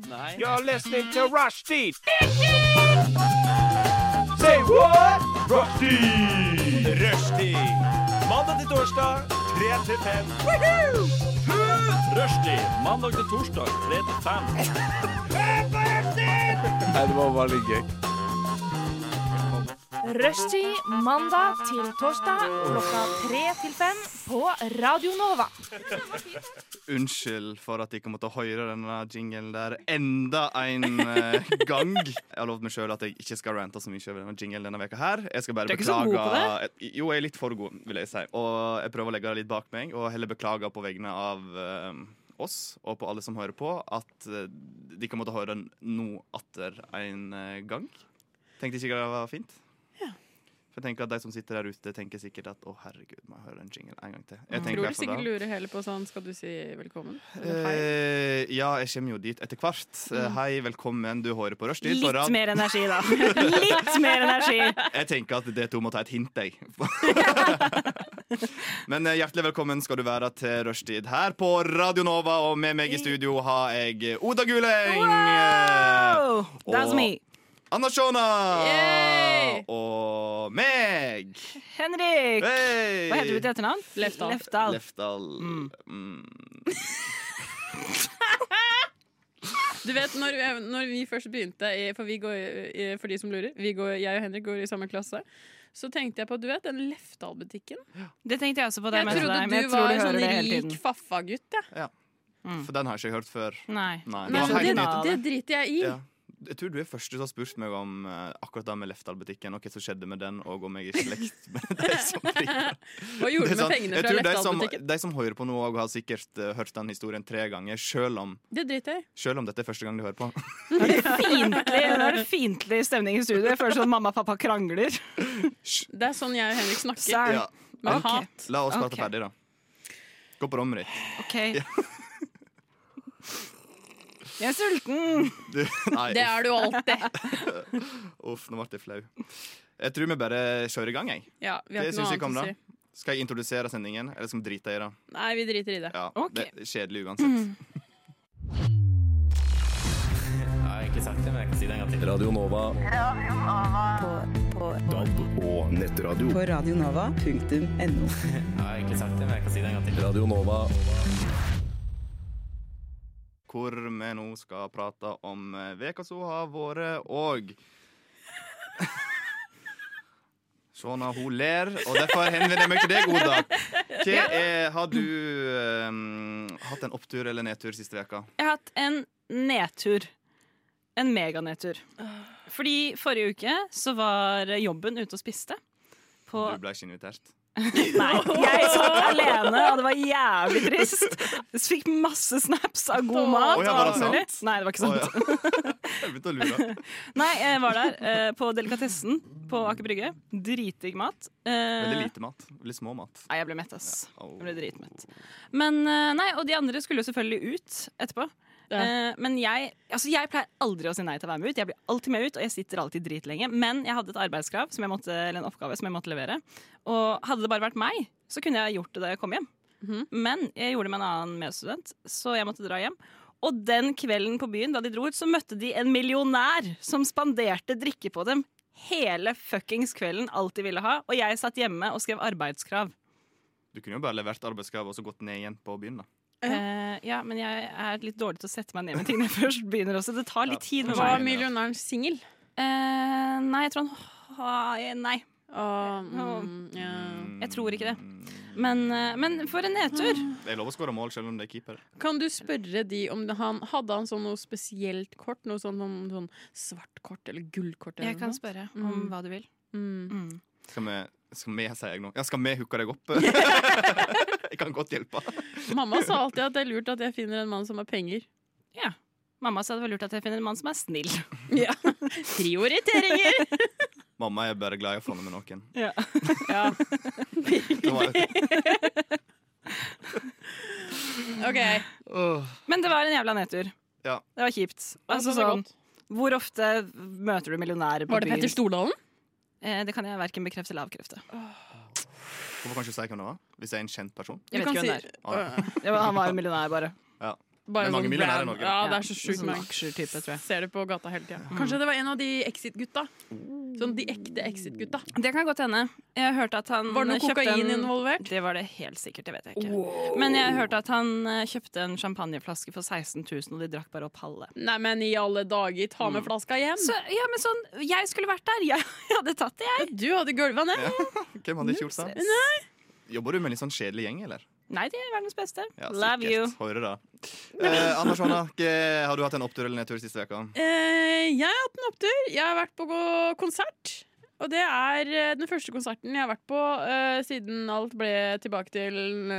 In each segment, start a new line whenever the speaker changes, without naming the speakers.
Nei.
You're listening to Rushdie. Say what? Rushdie. Rushdie. Mandag til torsdag, 3 til 5.
Rushdie mandag til torsdag 3 til 5.
Rushtid mandag til torsdag klokka tre til fem på Radio Nova.
Unnskyld for at jeg ikke måtte høre denne jinglen der enda en eh, gang. Jeg har lovd meg sjøl at jeg ikke skal rante så mye over denne jinglen denne veka her. Jeg skal bare
Du er ikke så
beklage
god på
Eh, Jo, jeg er litt for god, vil jeg si. Og jeg prøver å legge det litt bak meg, og heller beklage på vegne av eh, oss og på alle som hører på, at eh, de ikke måtte høre den nå atter en eh, gang. Tenkte ikke det var fint? For jeg tenker at De som sitter der ute, tenker sikkert at å herregud, må jeg høre den jinglen en gang til. Jeg tenker i
Mm. Tror
hvert
du
fall det.
sikkert lurer hele på sånn Skal du si velkommen? Eller hei?
Eh, ja, jeg kommer jo dit etter hvert. Eh, Hei, velkommen, du hører på Rushdie. på
Mm. Litt
rad.
mer energi, da. Litt mer energi.
Jeg tenker at det to må ta et hint, jeg. Men eh, hjertelig velkommen skal du være til rushtid her på Radio Nova, og med meg i studio har jeg Oda Guleng. eh,
Oh, that's me.
Anna Shona.
Yay!
Og meg.
Henrik.
Hey!
Hva heter du til etternavn?
Leftal.
Leftal.
Leftal.
Mm.
Mm.
Du vet, når, eh, når vi først begynte i, for, vi går, i- for de som lurer vi går, Jeg og Henrik går i samme klasse Så tenkte jeg på, du vet, den Leftal-butikken
Det tenkte jeg også på. da
Jeg
møtte
trodde
deg,
du
men jeg tror
var en
hører
sånn
det hele
rik
tiden.
faffa-gutt ja.
For den har jeg ikke hørt før.
Nei.
Nei,
Men
det var
det,
helt
det,
nytt.
driter jeg i
Ja. Jeg tror du er første som har spurt meg om eh, akkurat det med Leftal-butikken, og hva som skjedde med den, og om jeg er i slekt med de som driver.
Hva
Det
gjorde
er
du med
sant. sånn-
pengene
Jeg
fra
tror de som,
Leftal-butikken?
de som hører på nå, også har sikkert eh, hørt den historien tre ganger, selv om,
Det driter jeg i
selv om dette er første gang de hører på.
Fiendtlig, nå er det fiendtlig stemning i studio. Jeg føler sånn mamma og pappa krangler.
Det er sånn jeg og Henrik snakker
Sær.
Ja.
Med
Ok.
hat
La oss prate
Ok.
ferdig, da. Gå på rommet ditt.
OK. Jeg er sulten.
Du, nei,
Det er du alltid
uff, nå ble jeg flau. Jeg tror vi bare kjører i gang, jeg.
ja, vi har
Det
ikke
syns
noe
jeg kom
annet å
da.
si
Skal jeg introdusere sendingen, eller skal vi drite i det?
Nei, vi driter i det
Ja,
Ok.
det er kjedelig uansett.
Radio Nova. DAB og nettradio.
på radionova.no.
Radio Nova.
hvor vi nå skal prate om eh, veka som har vært, og Shona, Sånn hun ler, og derfor henvender jeg meg til deg, Oda. Hva er, har du eh, hatt en opptur eller nedtur siste veka?
Jeg har hatt en nedtur. En meganedtur. Fordi forrige uke så var jobben ute og spiste. På
Du ble ikke invitert.
Nei, jeg satt alene, og det var jævlig trist. Jeg fikk masse snaps av god mat.
Oi, ja,
og
var
alt
det sant?
mulig. Nei, det var ikke
Å,
sant.
ja. Jeg begynte å lure.
Nei, jeg var der eh, på Delikatessen på Aker Brygge. Dritdigg mat. Eh,
Veldig lite mat. Veldig små mat.
Nei, jeg ble mett, ass.
Au.
Jeg ble dritmett. Men, eh, nei, og de andre skulle jo selvfølgelig ut etterpå.
Ja.
Eh, Men jeg, altså jeg pleier aldri å si nei til å være med ut. Jeg blir alltid med ut, og jeg sitter alltid dritlenge. Men jeg hadde et arbeidskrav som jeg måtte, eller en oppgave som jeg måtte levere. Og hadde det bare vært meg, så kunne jeg gjort det da jeg kom hjem. Men jeg gjorde det med en annen medstudent, så jeg måtte dra hjem. Og den kvelden på byen da de dro ut, så møtte de en millionær som spanderte drikke på dem hele fuckings kvelden, alt de ville ha. Og jeg satt hjemme og skrev arbeidskrav.
Du kunne jo bare levert arbeidsgave og så gått ned igjen på byen. da.
Eh, ja, men jeg er litt dårlig til å sette meg ned med ting når jeg først begynner også. Det tar litt tid med
Var
meg.
Nei.
millionæren singel?
Eh, nei, jeg tror han ha- Nei,
Og, mm, ja.
jeg tror ikke det. Men, eh, men for en nedtur.
Mm.
Mm.
Det er lov å skåre mål selv om det er keeper.
Kan du spørre de om det- han hadde han sånn noe spesielt kort? Noe sånn, noe sånn svart kort eller gullkort? Eller
Jeg kan
noe?
spørre om hva du vil.
Mm.
Skal vi, skal vi sier jeg nå. Ja, skal vi hooke deg opp? jeg kan godt hjelpe.
Mamma sa alltid at det er lurt at jeg finner en mann som har penger.
Ja. Mamma sa det var lurt at jeg finner en mann som er snill.
Ja. Prioriteringer!
Mamma er bare glad i å få henne med noen.
Ja.
Det var,
Ok,
Åh.
Men det var en jævla nedtur.
Ja.
Det var kjipt. Altså,
det var
sånn, hvor ofte møter du millionærer på
Var det Petter Stordalen?
Eh, det kan jeg verken bekrefte eller avkrefte.
Hvorfor kan ikke du si hvem det var? Hvis jeg er en kjent person? Ah,
Jeg vet
Du
ikke
kan
hvem det
si- øh,
er. Det var- Han var en millionær, bare.
Ja.
Bare
Det er mange
sånn
millionærer i
random-
Norge, da.
Ja, det er så sjukt
sånn
mange.
aksjertype, tror jeg.
Ser det på gata hele tida. Kanskje det var en av de Exit-gutta. Sånn de ekte Exit-gutta.
Det kan godt hende. Jeg hørte at han
Var det noe
kjøpte
kokain
en...
involvert?
Det var det helt sikkert, det vet jeg ikke. Men jeg hørte at han eh, kjøpte en champagneflaske for 16 000, og de drakk bare opp halve.
Nei, men i alle dager, ta med flaska hjem!
Så, ja, men sånn, jeg skulle vært der, jeg, jeg hadde tatt det, jeg.
Du hadde gulva ned!
Hvem hadde ikke gjort det? Jobber du med en litt sånn kjedelig gjeng, eller?
Nei, de er verdens beste.
Ja,
Love you.
sikkert. Hører da. Eh, Anders Hånak, eh, har du hatt en opptur eller nedtur siste uka?
Eh, jeg har hatt en opptur. Jeg har vært på gå- konsert. Og det er eh, den første konserten jeg har vært på eh, siden alt ble tilbake til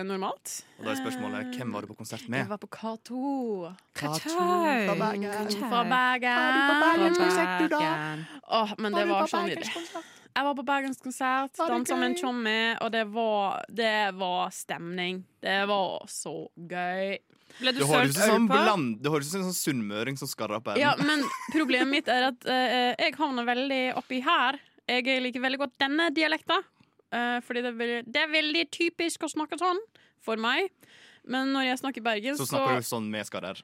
normalt.
Og da er spørsmålet, hvem var du på konsert
Eh, Jeg
med?
var på K2.
Katøy.
Fra Bergen. Åh, men det var så nydelig. Jeg var på bergenskonsert, dansa med en tjommi, og det var, det var stemning. Det var så gøy.
Ble du
Det
sølt
høres ut som,
øl på?
bland- det høres ut som en sånn sunnmøring som skarrer opp
Ja,
ermet.
men problemet mitt er at eh, jeg havner veldig oppi her. Jeg liker veldig godt denne dialekta, eh, fordi det er, veldig, det er veldig typisk å snakke sånn for meg. Men når jeg snakker bergensk,
Så
så,
snakker du sånn med skarrer.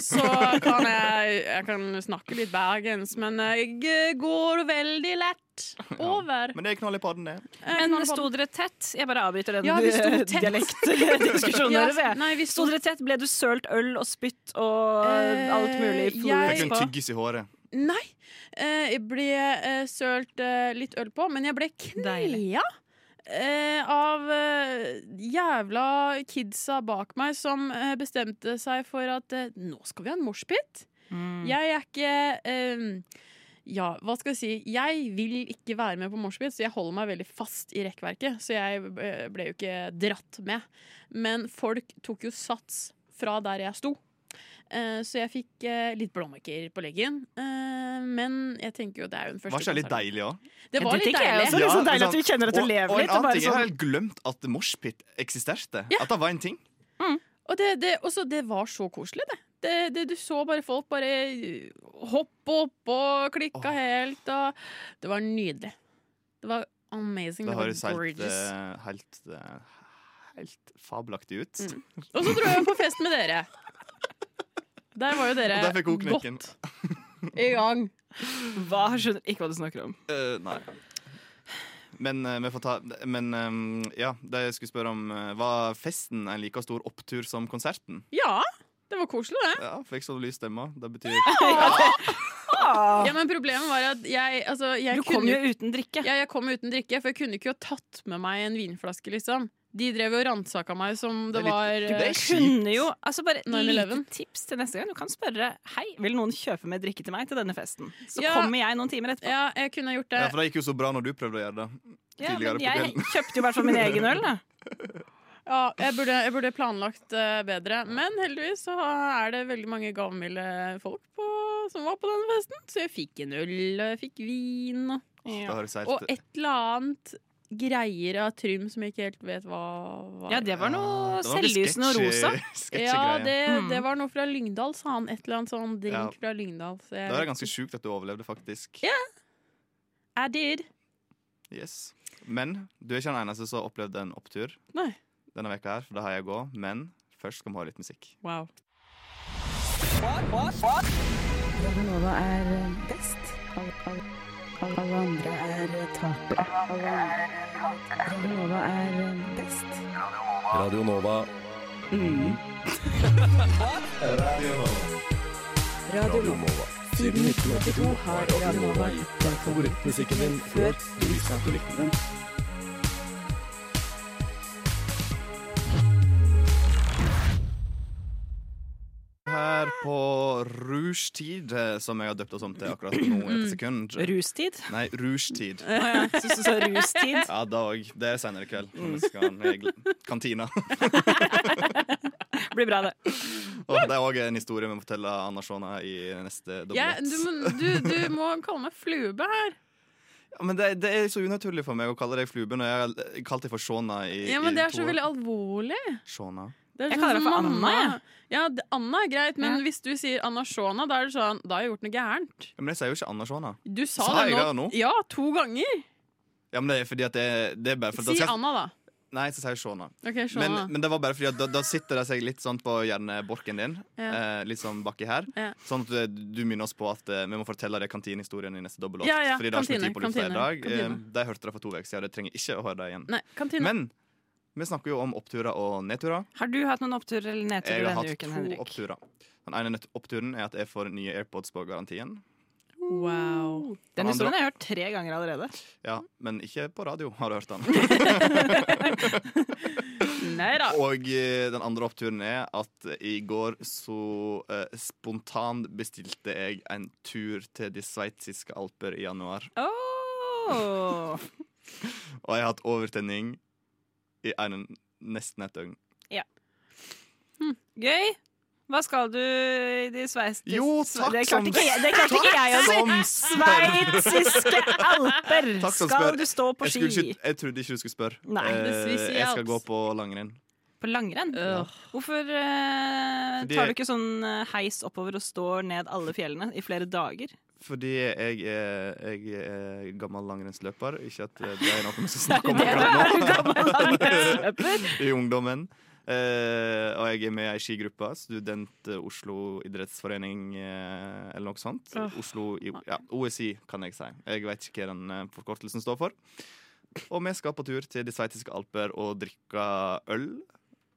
så kan jeg, jeg kan snakke litt bergensk, men jeg eh, går veldig lett over.
Men det er knall i padden, det.
Men sto dere tett? Jeg bare avbryter den
Ja, vi sto tett.
dialektdiskusjonen
Ja,
deres. jeg.
nei, vi
Sto
sto
dere tett? Ble du sølt øl og spytt og
Eh,
alt mulig?
jeg-
Fikk
florer
hun
på?
tyggis i håret.
Nei. Eh, jeg ble eh, sølt eh, litt øl på, men jeg ble knea eh, av eh, jævla kidsa bak meg som eh, bestemte seg for at eh, nå skal vi ha en moshpit.
Mm.
Jeg er ikke eh, ja, hva skal jeg si? Jeg vil ikke være med på moshpit, så jeg holder meg veldig fast i rekkverket. Så jeg eh, ble jo ikke dratt med. Men folk tok jo sats fra der jeg sto. Eh, Så jeg fikk eh, litt blåmerker på leggen. Eh, Men jeg tenker jo det er jo den første
Var ikke det litt
konserten.
deilig òg?
Det var
Ja,
litt
det tenker jeg
deilig.
også. Så det er så deilig at
liksom-
du kjenner at du
og-
lever
og en
litt, og
annen
bare
ting, Jeg har
sånn-
helt glemt at moshpit eksisterte.
Ja.
At det var en ting.
Og det, det, også, det var så koselig, det. Det, det. Du så bare folk bare øh, hoppe opp og klikka
Åh.
helt. Og det var nydelig. Det var amazing.
Mm,
Det
Det,
høres
var
helt,
gorgeous.
eh, helt, eh, helt fabelaktig ut.
Mm.
Og så dro jeg på fest med dere. Der var jo dere
Og der fikk hun knekken.
godt i gang.
sånn, Hva? Skjønner ikke hva du snakker om.
Eh, nei. Men eh, vi får ta Men eh, ja, det jeg skulle spørre om, eh, var festen en like stor opptur som konserten?
Ja, det var koselig, det.
Ja, fikk så lys stemme. Det betyr
Ja, men problemet var at jeg, altså, jeg
Du
kunne
kom jo uten drikke.
Ja, jeg kom uten drikke, for jeg kunne ikke ha tatt med meg en vinflaske, liksom. De drev jo og ransaka meg som det
Det
var
er litt-
eh,
det er
Jeg kunne jo altså bare et
9-11.
lite tips til neste gang. Du kan spørre Hei, vil noen kjøpe med drikke til meg til denne festen. Så
Ja.
kommer jeg noen timer etterpå.
øh, Ja, jeg kunne ha gjort det.
Ja, For det gikk jo så bra når du prøvde å gjøre det.
Ja,
tidligere
men
på
jeg
kvelden.
kjøpte jo i hvert fall min egen øl, da.
Ja, jeg, burde, jeg burde planlagt eh, bedre. Men heldigvis så er det veldig mange gavmilde folk på, som var på denne festen. Så jeg fikk en øl, og jeg fikk vin, og,
Det høres helt
og et eller annet greier av Trym som jeg ikke helt vet hva var.
Ja, det var noe
Ja, det var litt
selvlysende og
sketchy-
rosa.
sketchy
Ja,
greie.
det,
Mm.
det var noe fra Lyngdal, sa han. Et eller annet sånn
Ja.
drink fra Lyngdal. Så jeg,
Da er det ganske sjukt at du overlevde, faktisk.
Ja. I did.
Yes. Men du er ikke den eneste som har opplevd en opptur
Nei.
denne veka her, for det har jeg å gå. Men først skal vi ha litt musikk.
Wow.
Radio Nova er eh, best. Alle, alle, alle, alle andre er eh, tapere. Alle andre er tapere. Radio Nova er eh, best.
Radio Nova.
Mm. Radio Nova. Siden 1982 har Radio Nova gitt deg favorittmusikken din før du visste at du likte den.
Her på Rouge-tid, eh, som jeg har døpt oss om til akkurat nå i
Mm.
et sekund.
Rustid.
Nei, Rouge-tid.
Så, så, så rustid.
Ja, dag. Det er senere i kveld.
Mm.
Når vi skal ned i gl- kantina.
Blir bra, det.
Og det er òg en historie vi må fortelle Anna Shona i neste
Jeg,
dobbeltett.
du, må- du, du må kalle meg fluebe her.
Ja, men det, det er så unaturlig for meg å kalle deg Flube når jeg har eh, kalt deg for Shona i,
Ja, men
i
Det er
to
så
år.
veldig alvorlig.
Shona.
Det er
Jeg
sånn
kaller det
som
for Anna,
mamma- Ja, det- Anna er greit, men
Ja.
hvis du sier Anna Shona, da er det sånn Da har jeg gjort noe gærent.
Ja, men jeg sier jo ikke Anna Shona.
Du sa,
Sa
det
jeg
nå.
det nå?
Ja, to ganger.
Ja, men det er fordi at det, det er bare for at
Si
det skal,
Anna, da.
Nei, så sier jeg Shona.
OK,
Men,
Shona.
men det var bare fordi at da, da sitter de seg litt sånn på hjerneborken din.
Ja.
Eh, litt sånn baki her.
Ja.
Sånn at eh, du minner oss på at eh, vi må fortelle deg kantinehistorien i neste dobbeltlåt.
Ja, ja,
Fordi det har ikke
kantine,
noe tid på lufta i
kantine,
dag. Eh,
kantine. Mm.
de hørte det for to uker siden, og de trenger ikke å høre det igjen.
Nei, kantina.
Men vi snakker jo om oppturer og nedturer.
Har du hatt noen oppturer eller
Jeg
nedturer
har
denne
hatt
uken,
to
Henrik?
oppturer. Den ene nett- oppturen er at jeg får nye AirPods på garantien.
Wow.
Den
Han
historien har jeg hørt tre ganger allerede.
Ja, Men ikke på radio, har du hørt den.
Nei da.
Og eh, den andre oppturen er at i går så eh, spontan bestilte jeg en tur til de sveitsiske alper i januar.
Oh.
Og jeg har hatt overtenning i en, nesten et døgn.
Gøy. Hva skal du i de sveitsiske
Jo, takk
Det
som-
klarte ikke jeg, det klarte ikke jeg å si!
Som spør!
Sveitsiske alper!
Takk som spør.
Skal du stå på
Jeg,
ski?
skulle ikke, jeg trodde ikke du skulle spørre.
Nei,
Eh,
det sviser i
jeg skal
alt.
gå på langrenn.
På langrenn?
Øh.
Hvorfor eh,
Fordi-
tar du ikke sånn eh, heis oppover og står ned alle fjellene i flere dager?
Fordi jeg er, jeg er gammel langrennsløper. Ikke at det er noe vi skal snakke om
Det er
akkurat nå.
du gammel langrennsløper.
i ungdommen. Eh, og jeg er med i skigruppe, student eh, Oslo idrettsforening eh, eller noe sånt. Oslo, i, ja, OSI, kan jeg si. Jeg vet ikke hva den eh, forkortelsen står for. Og vi skal på tur til de sveitsiske alper og drikke øl.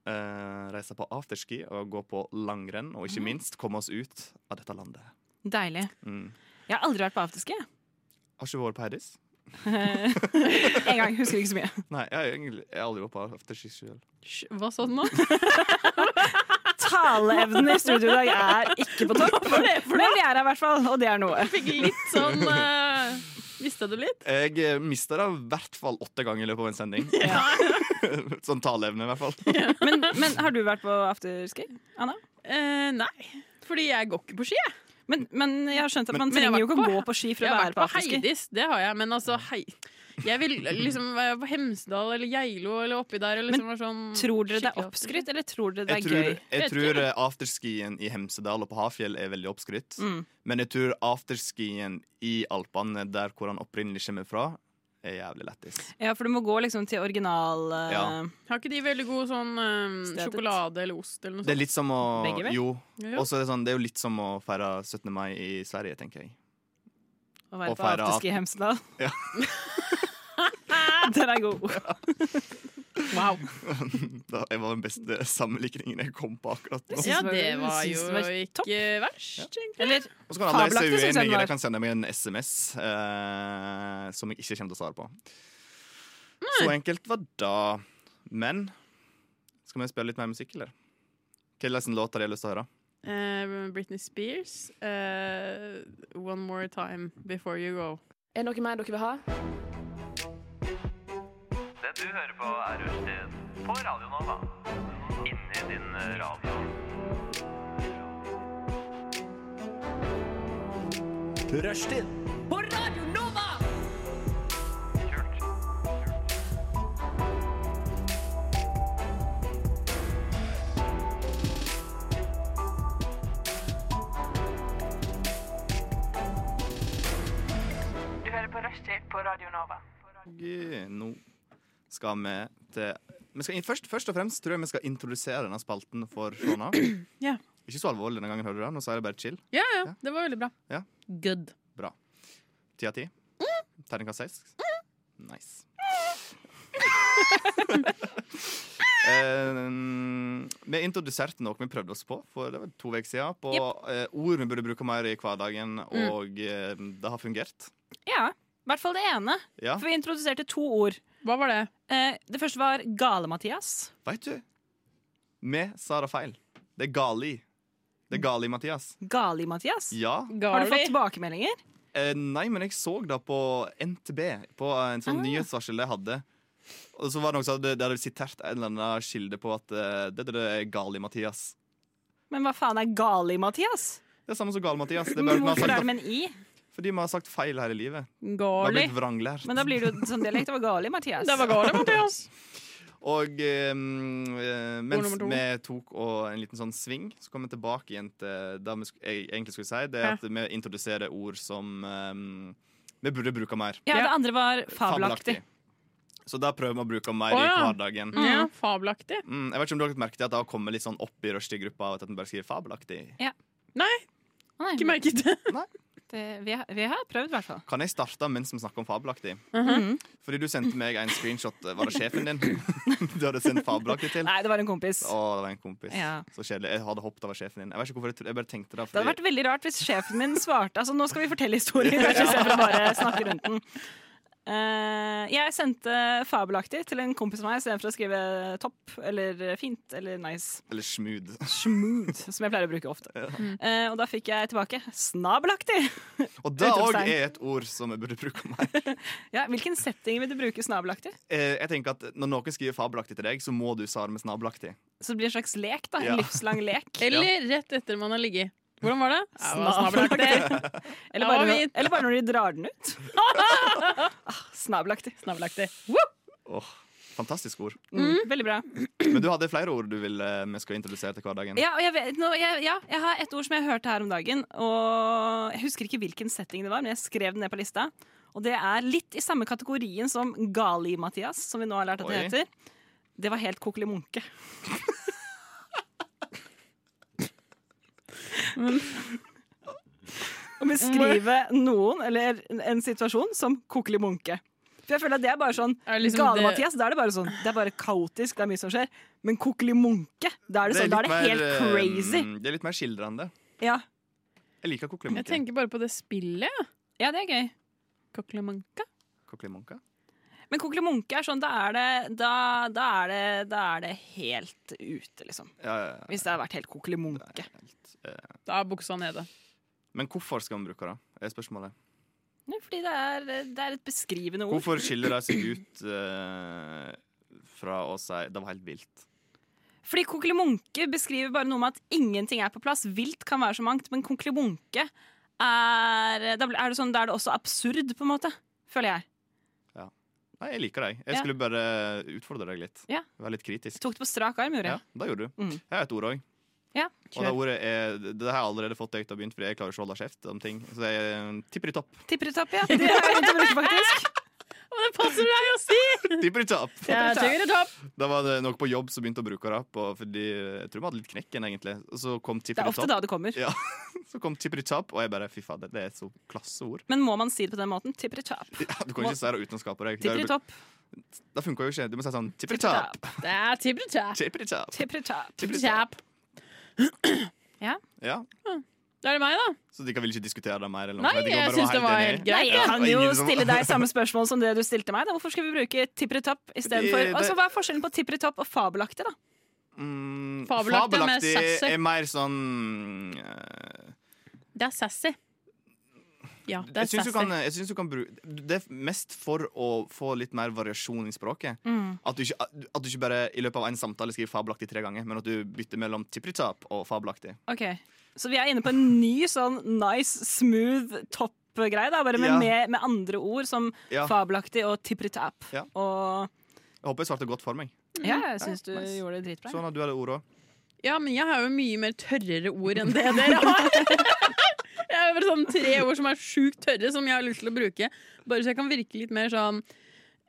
Eh, reise på afterski og gå på langrenn, og ikke minst komme oss ut av dette landet.
Deilig.
Mm.
Jeg har aldri vært på afterski. jeg.
Har ikke vært på Heidis?
En gang, husker ikke så mye.
Nei, jeg har egentlig jeg har aldri vært på afterski sjøl.
Hysj, Hva sa du nå?
Taleevnen i studio i dag er ikke på topp. Men vi er her i hvert fall, og det er noe.
Fikk litt sånn uh, Mista du litt?
Jeg eh, mista det i hvert fall åtte ganger i løpet av en sending. sånn taleevne, i hvert fall.
Men, men har du vært på afterski, Anna?
Eh, nei. Fordi jeg går ikke på ski. jeg.
Men, men jeg har skjønt at
Men-
man
men jeg har
trenger jo ikke
vært
å
på-
gå på ski for
jeg
å
har
være
vært
på
på
afterski.
Heidis, det har jeg, men altså hei. Jeg vil liksom være på Hemsedal eller Geilo eller oppi der. Og liksom være sånn
Tror dere det er
skikkelig
oppskrytt, eller tror dere det
Jeg
er
tror,
gøy?
jeg tror eh, afterskien i Hemsedal og på Hafjell er veldig oppskrytt.
Mm.
Men jeg tror afterskien i Alpene, der hvor han opprinnelig kommer fra, er jævlig lættis.
Ja, for du må gå liksom til original eh,
Ja.
Har ikke de veldig god sånn eh,
Stedet.
sjokolade eller ost eller
Det
noe sånt?
er litt som å
Begge veier?
Jo.
Ja.
Og så er det, sånn, det er jo litt som å feire 17. mai i Sverige, tenker jeg.
å være
Og
på
feire
afterski i Hemsedal.
Ja.
Den er god.
Wow.
Da, jeg var den beste sammenligningen jeg kom på akkurat nå.
Ja,
synes det var-
det
jeg
var
synes
jo
det var
ikke
topp.
verst, egentlig.
Eller
Og så kan alle
Fabelaktig,
være
synes jeg den
uenige.
var.
De kan sende meg en SMS eh, som jeg ikke kommer til å svare på. Så enkelt var det. Men skal vi spille litt mer musikk, eller? Hvilken låt har jeg lyst til å høre?
Eh, Britney Spears, eh, One More Time Before You Go.
Er det noe mer dere vil ha?
Det du hører på er Rushtid på Radio Nova. Inni din eh, radio.
Rushtid.
Kult.
Du hører på Rushtid på Radio Nova.
Og eh, nå skal vi til vi skal, inn- først, først og fremst tror jeg vi skal introdusere denne spalten for Shona.
Ja.
Ikke så alvorlig denne gangen, hører du det? Nå sier jeg bare chill.
Ja, ja,
Ja.
det var veldig bra.
Ja.
Good.
Ti av ti. Terningkast seks. Nice. Eh, vi introduserte noe vi prøvde oss på for det var to uker siden. På eh, ord vi burde bruke mer i hverdagen, og eh, det har fungert.
Ja. I hvert fall det ene.
Ja.
For vi introduserte to ord.
Hva var det?
Eh, det første var Gale-Mathias.
Veit du? Vi sa det feil. Det er gali. Det er gali, Mathias.
Gali-Mathias.
Ja.
Har du
Gali.
fått tilbakemeldinger?
Eh, nei, men jeg så det på NTB, på en sånn nyhetsvarsel jeg hadde. Og så var det noen som hadde, de hadde sitert en eller annen kilde på at eh, det, det, det er gali Mathias.
Men hva faen er Gali-Mathias?
Det er samme som gal Mathias. Det er bare, vi har
Hvorfor er det
sagt,
med en i?
fordi vi har sagt feil her i livet. Vi har
Gali.
blitt vranglært.
Men da blir det jo sånn dialekt. Det var Gali-Mathias.
Det var Gali, Mathias.
Og eh, eh, mens
nummer to.
vi tok og en liten sånn sving, så kom vi tilbake igjen til det vi sk- jeg egentlig skulle si, det er
Ja.
at vi introduserer ord som eh, ehm, vi burde bruke mer.
Ja, det andre var fabelaktig.
Så da prøver vi å bruke mer
Å,
i
ja.
hverdagen.
Ja, fabelaktig.
Mm, jeg vet ikke om du har lagt merke til at det har kommet litt sånn opp i rushtid-gruppa av at den bare skriver fabelaktig.
Å, nei,
Ikke merket det.
det, vi, har- vi har prøvd, i hvert fall.
Kan jeg starte mens vi snakker om fabelaktig?
Mhm.
Fordi du sendte meg en screenshot. eh, Var det sjefen din du hadde sendt fabelaktig til?
Nei, det var en kompis.
Å, det var en kompis.
Ja.
Så kjedelig. Jeg hadde hoppet over sjefen din. Jeg vet ikke hvorfor jeg, tro- jeg bare tenkte det.
Det hadde
Fordi,
vært veldig rart hvis sjefen min svarte Altså, nå skal vi fortelle historien, kanskje istedenfor å bare snakke rundt den. Eh, jeg sendte fabelaktig til en kompis av meg istedenfor å skrive topp eller fint eller nice.
Eller smooth.
Smooth, som jeg pleier å bruke ofte. Eh, og da fikk jeg tilbake snabelaktig.
Og det òg
Utropstegn.
er et ord som jeg burde bruke mer.
Ja, hvilken setting vil du bruke snabelaktig?
Eh, Jeg tenker at Når noen skriver fabelaktig til deg, så må du svare med snabelaktig.
Så det blir en slags lek, da. En
Ja.
livslang lek.
Eller rett etter man har ligget. Hvordan var det?
Snabelaktig. Eller bare,
Da var vi-
når, eller bare når de drar den ut. Ah, snabelaktig. Snabelaktig.
Åh, Fantastisk ord.
Mm, veldig bra.
Men du hadde flere ord du ville eh, vi skal introdusere til hverdagen.
Ja, og jeg, vet, nå, jeg, ja, jeg har et ord som jeg hørte her om dagen. Og jeg husker ikke hvilken setting det var, men jeg skrev den ned på lista. Og det er litt i samme kategorien som Gali-Mathias, som vi nå har lært at det
Oi.
heter. Det var helt kokkelimunke. Å beskrive noen eller en- en situasjon som kokkelimunke. For jeg føler at det er bare sånn
Er det liksom det-
Gale-Mathias, da er det bare sånn Det er bare kaotisk, det er mye som skjer. Men kokkelimunke, da er det sånn, da er det
litt
helt
mer, eh,
crazy.
mm, Det er litt mer skildrende.
Ja.
Jeg liker
Jeg
koklemunke.
tenker bare på det spillet. ja.
ja, det er gøy.
Koklemanka.
Koklemunke?
Men kokkelimunke er sånn, da er, det, da, da, er det, da er det helt ute, liksom.
Ja, ja, ja. eh,
Hvis det har vært helt kokkelimunke.
Da er buksa nede.
Men hvorfor skal vi bruke det? er spørsmålet.
Nei, Fordi det er, det er et beskrivende ord.
Hvorfor skiller det seg ut eh, fra å si det var helt vilt?
Fordi kokkelimunke beskriver bare noe med at ingenting er på plass. Vilt kan være så mangt, men kokkelimunke er, da blir- er det sånn, Da er det også absurd, på en måte. Føler jeg.
Nei, jeg liker deg. Jeg
Ja.
skulle bare utfordre deg litt.
Ja.
Være litt kritisk.
Tok det på strak arm, gjorde
Ja,
jeg.
det gjorde du.
Mm.
Jeg har et ord òg.
Ja,
og det, ordet er, det har jeg allerede fått deg til å begynne, fordi jeg klarer ikke å holde kjeft om ting. Så jeg eh, tipper i topp.
Tipper i topp, ja. Det er lett å bruke, faktisk.
Og det passer deg å si!
Tipper i topp!
Jeg tenker det er topp.
Da var det noe på jobb som begynte å bruke det opp, og fordi jeg tror vi hadde litt knekken, egentlig. Og så kom
Det
tipper i
er ofte
topp,
da det kommer.
så kom tipper i topp, og jeg bare fy fader, det er et så klasse ord.
Men må man si det på den måten? Tipper i topp.
Ja, du kan
Må-
ikke si det uten å skape deg.
Tipper i topp.
Det funker jo ikke. Du må si sånn tipper i
Tipper i
topp.
topp.
Det er tippeltap.
Tipper i topp.
Tipper i topp.
Tipper i topp. Ja.
Da er det meg, da.
Så de kan vel ikke diskutere det mer? Eller noe?
Nei,
De kan
jeg
bare
syns det
være
var
helt
helt
enige.
greit.
Nei, jeg
Ja.
kan
det var
jo
ingen som-
stille deg samme spørsmål som det du stilte meg. Da. Hvorfor skal vi bruke tipper i topp
Det-
istedenfor
det-
altså, Hva er forskjellen på tipper i topp og fabelaktig, da?
Mm,
Fabelaktig er mer sassy.
er mer sånn eh,
Det er sassy. Ja, det
Jeg
er
syns
sassy.
du kan, jeg synes du kan bruke Det er mest for å få litt mer variasjon i språket.
Mm.
At, du ikke, at du ikke bare i løpet av en samtale skriver fabelaktig tre ganger, men at du bytter mellom tipritap og fabelaktig.
Ok, Så vi er inne på en ny sånn nice, smooth topp-greie, da, bare med,
Ja.
med, med andre ord som
Ja, jeg
fabelaktig og tipper i topp.
Ja.
Og
håper jeg svarte godt for meg.
ja, jeg
Mm,
syns du
Ja, nice.
gjorde det dritbra.
Sånn at du hadde ordet òg.
Ja, men jeg har jo mye mer tørrere ord enn det dere har. Jeg har bare sånn tre ord som er sjukt tørre, som jeg har lyst til å bruke. Bare så jeg kan virke litt mer sånn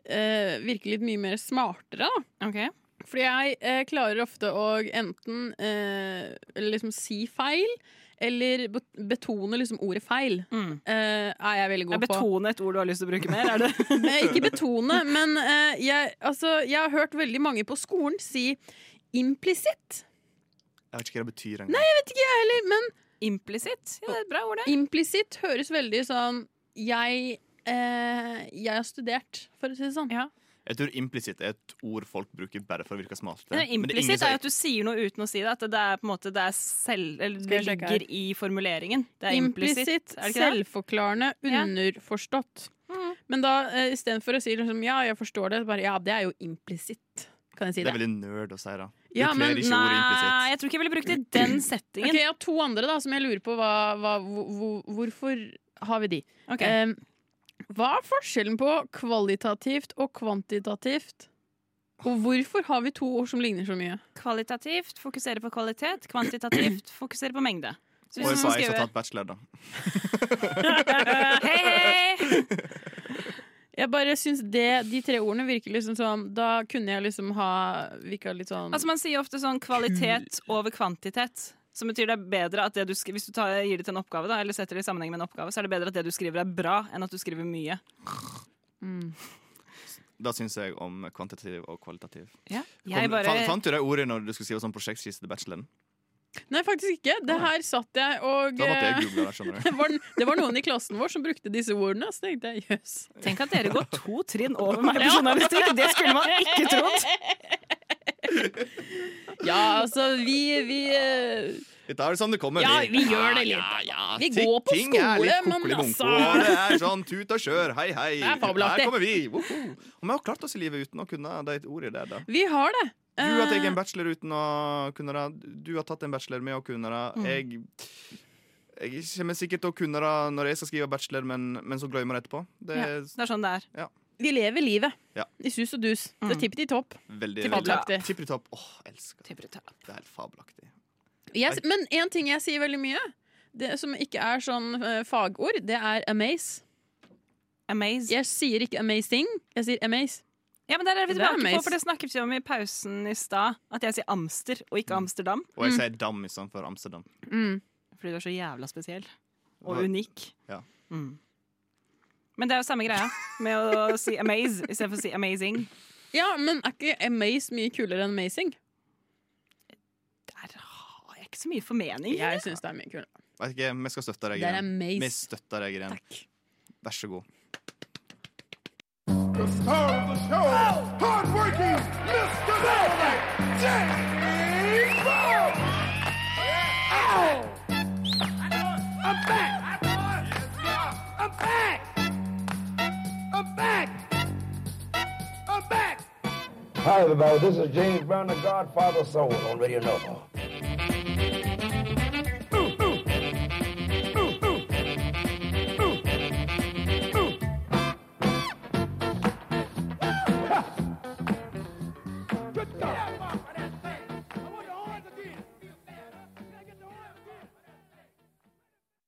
eh, Virke litt mye mer smartere, da.
Ok.
Fordi jeg eh, klarer ofte å enten eh, liksom si feil, eller bet- betone liksom ordet feil.
Mm.
Eh, er jeg veldig
Jeg
god på.
betoner et ord du har lyst til å bruke mer. Er det?
Eh, ikke betone, men eh, jeg, altså, jeg har hørt veldig mange på skolen si implisitt.
Jeg vet ikke hva det betyr engang.
Eller, men
Implisitt? Ja, det er et bra ord, det.
implisitt høres veldig sånn Jeg, eh, jeg har studert, for å si det sånn.
Ja.
Jeg tror implisitt er et ord folk bruker bare for å virke smarte. Men det
Nei,
er ingen
Implisitt
som-
er jo at du sier noe uten å si det. At det er på en måte Det, er selv, eller
Skal
det
jeg sjekke her?
ligger i formuleringen. Det er implisitt.
Implisitt,
Er det ikke det?
selvforklarende,
Ja. Mm.
underforstått. Men da eh, istedenfor å si liksom, ja, jeg forstår det, bare ja, det er jo implisitt. Kan jeg si
det
det?
er veldig nerd å si det. Du
Ja,
kler
men
ikke ordet
Nei,
implisitt.
jeg tror ikke jeg ville brukt det i den
Ok,
settingen.
jeg har to andre da, som jeg lurer på hva, hva, hvor, hvor- hvorfor har vi de.
Ok.
Em, hva er forskjellen på kvalitativt og kvantitativt? Og hvorfor har vi to ord som ligner så mye?
Kvalitativt fokusere på kvalitet. Kvantitativt fokusere på mengde. Så
Og
hvis
så
du
har jeg som har
skriver
tatt bachelor, da.
Hei, hei!
Jeg bare syns det, de tre ordene virker liksom sånn Da kunne jeg liksom ha virka litt sånn
Altså Man sier ofte sånn kvalitet over kvantitet. Som betyr det er bedre at det du skriver, Hvis du tar, gir det til en oppgave, da, eller setter det i sammenheng med en oppgave, så er det bedre at det du skriver, er bra, enn at du skriver mye.
Da syns jeg om kvantitativ og kvalitativ.
Jeg
Kom,
bare,
fa- Fant du det ordet når du skulle skrive sånn prosjektskisse til bacheloren?
Nei, faktisk ikke. Det her satt jeg og
Da måtte jeg
eh,
google det, skjønner
det
du.
var, det var noen i klassen vår som brukte disse ordene, så tenkte jeg jøss.
tenk at dere går to trinn over meg på journalistikk! Det skulle man ikke trodd!
Ja, altså, vi, vi eh,
Dette er det sånn det kommer.
Ja, vi gjør det litt.
Ja, ja, ja.
Vi
Ting-
går på
ting er litt
skole, men
kokkeli-bonko,
altså.
og Det er sånn tut og kjør, hei, hei.
Det er fabelaktig.
Her kommer vi. Woho! Og vi har klart oss i livet uten å kunne de ordene der, da.
Vi har det.
Du har tatt
Eh,
en bachelor uten å kunne det. Du har tatt en bachelor med å kunne
Mm.
det. Jeg, jeg kommer sikkert til å kunne det når jeg skal skrive bachelor, men, men så glemmer jeg det etterpå. Det er
Det er sånn det er.
Eh, vi lever livet.
Ja. Mm.
I sus og dus. Det er tipp til topp.
veldig
Fabelaktig.
Tippitopp. Åh, elsker det.
Tippetopp.
Det er helt fabelaktig.
Jeg, men én ting jeg sier veldig mye, det som ikke er sånn eh, fagord, det er amaze.
Amaze.
Jeg sier ikke amazing, jeg sier amaze.
Ja, men der er vi
Det er
tilbake på,
amaze.
for det snakket vi om i pausen i stad. At jeg sier Amster og ikke Amsterdam.
Og
Mm.
jeg sier dam istedenfor Amsterdam.
Fordi du er så jævla spesiell.
Hva-
Og unik.
Ja.
Mm. Men det er jo samme greia med å si amaze istedenfor å si amazing.
Ja, men er ikke amaze mye kulere enn amazing?
Der har jeg ikke så mye formening.
Jeg syns det er mye kulere.
Vet ikke, vi skal støtte deg
Det er
igjen.
amaze.
Vi støtter deg igjen.
Takk.
Vær så god.
Hi, everybody. This is James Brown, the Godfather of Soul on Radio Nova.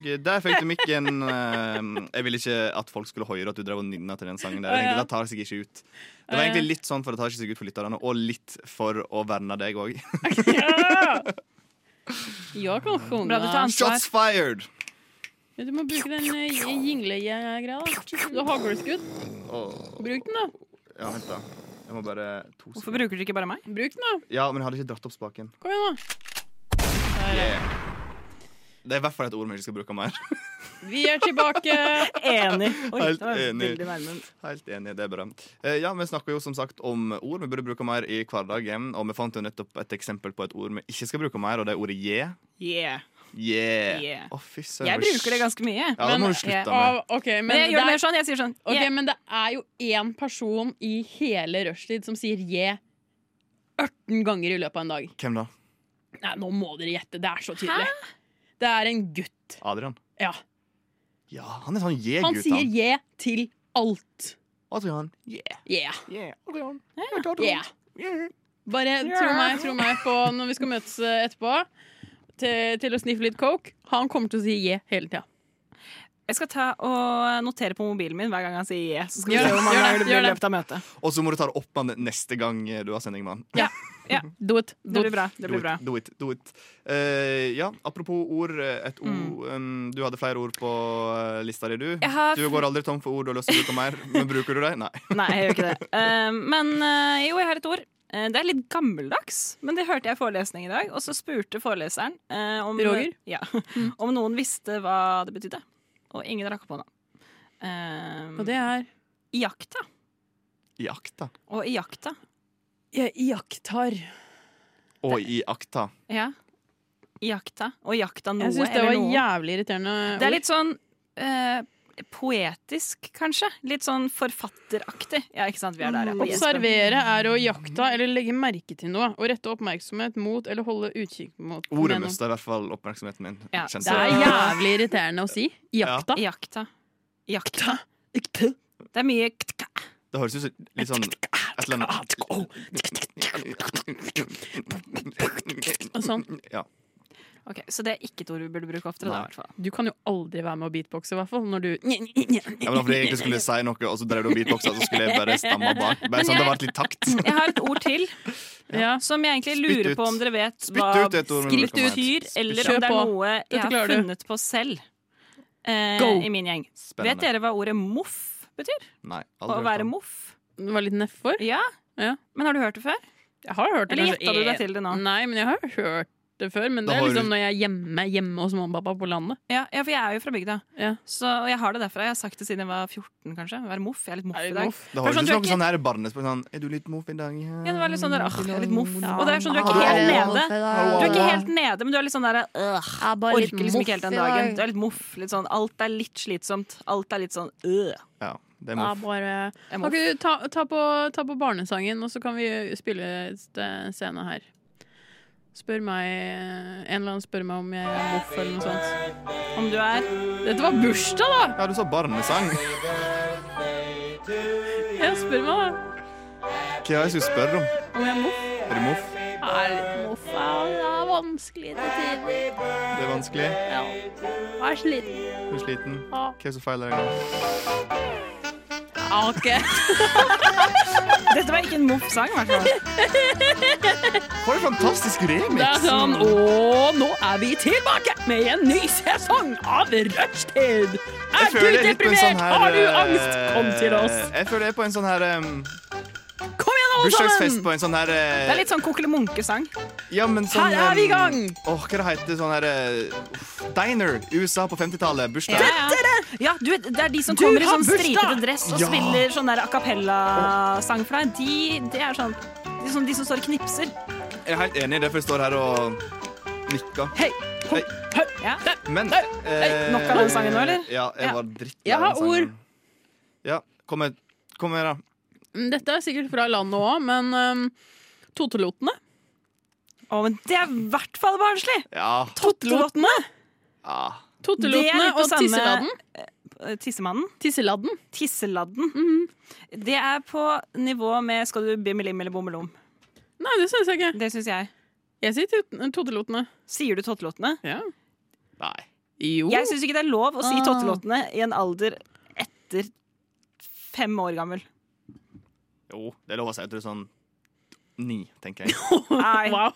Der fikk du mikken. eh, Jeg ville ikke at folk skulle høre at du drev og nynna til den sangen. der Jeg tenkte, Det tar seg ikke ut Det var egentlig litt sånn for det tar seg ikke ut for lytterne, og litt for å verne deg òg.
Jeg kan sjunge.
Bra, du tar ansvar.
Shots fired!
Ja, du må bruke den eh, jinglegreia. da. Du har haglskudd. Bruk den, da.
Ja, vent, da. Jeg må bare to
Hvorfor
sekunder.
bruker du ikke bare meg?
Bruk den, da.
Ja, men jeg hadde ikke dratt opp spaken.
Kom igjen, da.
Det er i hvert fall et ord vi ikke skal bruke mer.
Vi er tilbake.
Enig. Oi,
Helt
det var
enig.
veldig nærme.
Helt enig, det er bra. Eh, Ja, Vi snakker jo som sagt om ord vi burde bruke mer i hverdagen. Og vi fant jo nettopp et eksempel på et ord vi ikke skal bruke mer, og det er ordet je.
Yeah.
Yeah.
Yeah.
Å, fy søren.
Jeg bruker det ganske mye.
Ja, det må
Men,
du slutte med.
Av, ok, men,
Men jeg gjør det
det
mer
er,
sånn. Jeg sier sånn
ok,
yeah.
men det er jo én person i hele rushtid som sier je 18 ganger i løpet av en dag.
Hvem da?
Nei, nå må dere gjette. Det er så tydelig. Det er en gutt.
Adrian?
Ja.
Ja, han er sånn
Han
je-gutt,
sier je til alt.
Adrian. Yeah.
Yeah.
Yeah. Adrian.
yeah. Bare tro meg, tro meg på når vi skal møtes eh, etterpå, til, til å sniffe litt coke. Han kommer til å si je hele tida.
Jeg skal ta og notere på mobilen min hver gang han sier yeah. Så skal vi
Gjør
se
det,
hvor mange
gjør det,
ganger det
gjør
blir i
det.
løpet av møtet.
Og så må du ta det opp med han neste gang eh, du har sending med han.
Do it. Do
Det
it.
blir bra. Det
Do
blir
it,
bra.
Do it, do it. Eh, ja, apropos ord. eh, Et
Mm.
ord, em, du hadde flere ord på eh, lista di, du.
Jeg har
Du går aldri tom for ord du har lyst til å bruke mer, men bruker du det? Nei.
Nei, jeg gjør ikke det. Eh, men eh, jo, jeg har et ord. Eh, det er litt gammeldags, men det hørte jeg i forelesning i dag. Og så spurte foreleseren eh, om,
Roger? Mm.
Ja, om noen visste hva det betydde. Og ingen rakk opp hånda. Uh,
Og det er
Iaktta.
I akta.
Og iaktta.
Jeg iakttar.
Og i akta.
Ja. Iaktta. Og jakta noe
Jeg syns det
eller
var
noen.
jævlig irriterende.
Det
ord.
er litt sånn eh, poetisk, kanskje. Litt sånn forfatteraktig. Ja, ikke sant? Mm, Vi er der, ja.
Observere er å jakta eller legge merke til noe. Å rette oppmerksomhet mot eller holde utkikk mot.
Ordet
Mener.
mista i hvert fall oppmerksomheten min.
Ja,
Kjente
Det er
jeg.
jævlig irriterende å si. Jakta.
Iaktta. Iakta. Det er mye k-k-k.
Det høres ut som litt sånn et eller annet
Og sånn.
Ja.
eh. Ok, Så det er ikke et ord vi burde bruke oftere, da, i hvert fall.
Du kan jo aldri være med å beatboxe, i hvert fall når du
Ja, men da fordi jeg egentlig skulle si noe, og så drev du og beatboxa, så skulle jeg bare stamme bak. Bare sånn, det var litt takt.
Jeg har et ord til
Ja.
som jeg egentlig
Spytt
lurer
ut.
på om dere vet
Spytt
hva
ut et ord, men
skrift
det kommer
betyr,
helt-
eller
Kjør
om det er
på.
noe
Dette
jeg har
klarer du.
funnet på selv eh,
Go.
i min gjeng.
Spennende.
Vet dere hva ordet moff betyr?
Nei,
Å
aldri hørt
være
om.
moff?
Det var litt nedfor.
Ja.
Ja.
Men har du hørt det før?
Jeg har hørt det
Eller
kanskje
gjetta du
en-
deg til det nå?
Nei, men jeg har hørt det før. Men
Da
det er
har
liksom
du-
når jeg er hjemme, hjemme hos mamma og pappa på landet.
Ja, ja, for jeg er jo fra bygda.
Ja.
Så, og jeg har det derfra. Jeg har sagt det siden jeg var 14, kanskje. Være moff. Jeg er litt moff i dag.
Da har
Sånn,
du
du
ikke
er
noe sånn her barnespørsmål sånn Er du litt moff i dag?
Ja, det var litt sånn der, «Åh, jeg er litt moff.
Ja.
Og det er sånn, du er
Ah,
ikke helt nede. Du er ikke
Ja.
helt nede, men du er litt sånn der øh,
Jeg er bare litt
Orker liksom ikke helt den
moff i
dagen.
dag.
Du er litt moff. Litt sånn, alt er litt slitsomt. Alt er litt sånn øh.
Ja, det er
Ja,
moff.
bare...
Jeg er
Kan
moff.
ikke du ta, ta, på, ta på barnesangen, og så kan vi spille et eh, scene her. Spør meg eh, En eller annen spør meg om jeg er moff eller noe sånt.
Om du er
Dette var bursdag, da!
Ja, du sa barnesang.
Jeg spør meg da
Hva er det jeg skulle spørre om?
om jeg er moff.
Er du moff?
Jeg er litt moff. Ja, det er vanskelig til tider.
Det er vanskelig.
Ja. Jeg er sliten.
Du er sliten. Hva
Ja.
er det som feiler deg nå?
Ja, ok.
Dette var ikke en moff-sang, i hvert fall.
For en fantastisk
Det er
remix!
sånn, og nå er vi tilbake med en ny sesong av Rushtid! Er du
føler jeg er litt på en
deprimert?
sånn her,
Har du angst?
eh,
Kom til oss.
Jeg føler jeg er på en sånn her em,
Kom igjen, alle
bursdagsfest
sammen!
på en sånn her eh,
Det er litt sånn kokkelemunke-sang.
ja, men sånn,
Her er vi i
em,
gang!
Åh, hva det heter sånn her eh, uff, Diner i USA på 50-tallet.
Ja,
Bursdag.
ja. ja du, vet, det er de som
Du
kommer i
har
sånn
bursdag!
stripete dress og
Ja.
spiller sånn der a cappella-sang for deg. De, det er sånn de som, de som står og knipser.
Jeg er helt enig i det, for jeg står her og nikker.
Hei, ho,
Hei.
ho.
Ja.
Men eh,
nok av den sangen nå, eller?
Ja, jeg
Ja.
var dritt
Jeg
av den
har
sangen.
ord.
Ja, kom med, kom med da.
Mm, Dette er sikkert fra landet òg, men um, Totelotene.
Å, men det er i hvert fall barnslig!
Ja.
Totelotene!
ja.
Det er
Totelotene
litt på
og
samme-
Tisseladden.
Eh, Tissemannen.
Tisseladden.
Tisseladden. Det er på nivå med Skal du bimmelim eller bommelom.
Nei, det syns jeg ikke.
Det syns jeg.
Jeg sier tot- Totelotene.
Sier du tottelåtene?
Ja.
Nei.
Jo.
Jeg syns ikke det er lov å si
Ah.
tottelåtene i en alder etter fem år gammel.
Jo, det er lov å si. Jeg tror sånn ni, tenker jeg.
Nei.
Wow.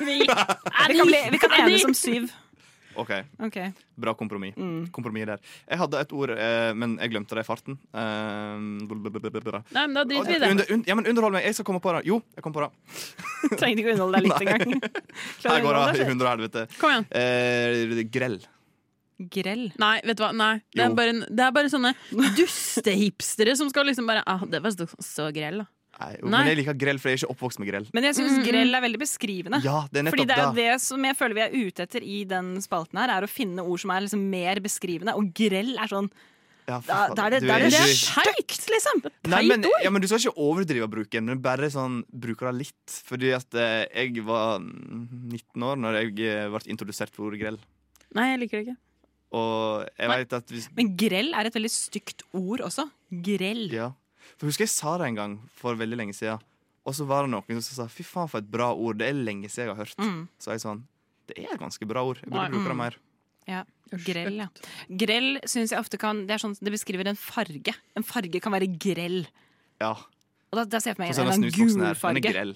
Vi, vi kan, bli, vi kan enes om syv.
OK,
Ok.
bra kompromiss.
Mm.
Kompromiss der. Jeg hadde et ord, eh, men jeg glemte det i farten. Eh, blablabla.
Nei, men da driter vi i det.
under, un, ja, men underhold meg. Jeg skal komme på det. Jo, jeg kom på det.
Trengte ikke å underholde deg litt
Nei.
engang.
Her går det i
Klarer du å underholde deg selv?
hundre og helvete.
Kom igjen.
Eh, grell.
Grell.
Nei, vet du hva. Nei. Det, er
Jo.
bare, det er bare sånne dustehipstere som skal liksom bare ah, 'Det var så, så grell', da.
Nei, jo,
Nei.
Men jeg liker grell, for jeg er ikke oppvokst med grell.
Men jeg syns grell er veldig beskrivende.
Ja, det er
Fordi
nettopp
det er jo
det.
det som jeg føler vi er ute etter i den spalten her, er å finne ord som er liksom mer beskrivende. Og grell er sånn
Ja, fy
Da,
faen.
da er det,
Du
da er det,
ikke-
det er stygt, liksom!
Nei, men, ja, men Du skal ikke overdrive bruken, men bare sånn, bruke det litt. Fordi at eh, jeg var mm, 19 år når jeg eh, ble introdusert for ordet grell.
Nei, jeg liker det ikke.
Og jeg vet at hvis,
Men grell er et veldig stygt ord også. Grell.
ja. For Husker jeg sa det en gang for veldig lenge siden. Og så var det noen som sa 'fy faen, for et bra ord'. Det er lenge siden jeg har hørt.
Mm.
Så jeg sånn Det er et ganske bra ord. Jeg
Nei,
burde bruke det mer.
Grell, ja. Grell syns jeg ofte kan Det, er sånn, det beskriver en farge. En farge kan være grell.
Ja.
Og da, da ser jeg for meg
Sånn
en,
som denne
eller annen
snusboksen her. Den er
gulfarge.
grell.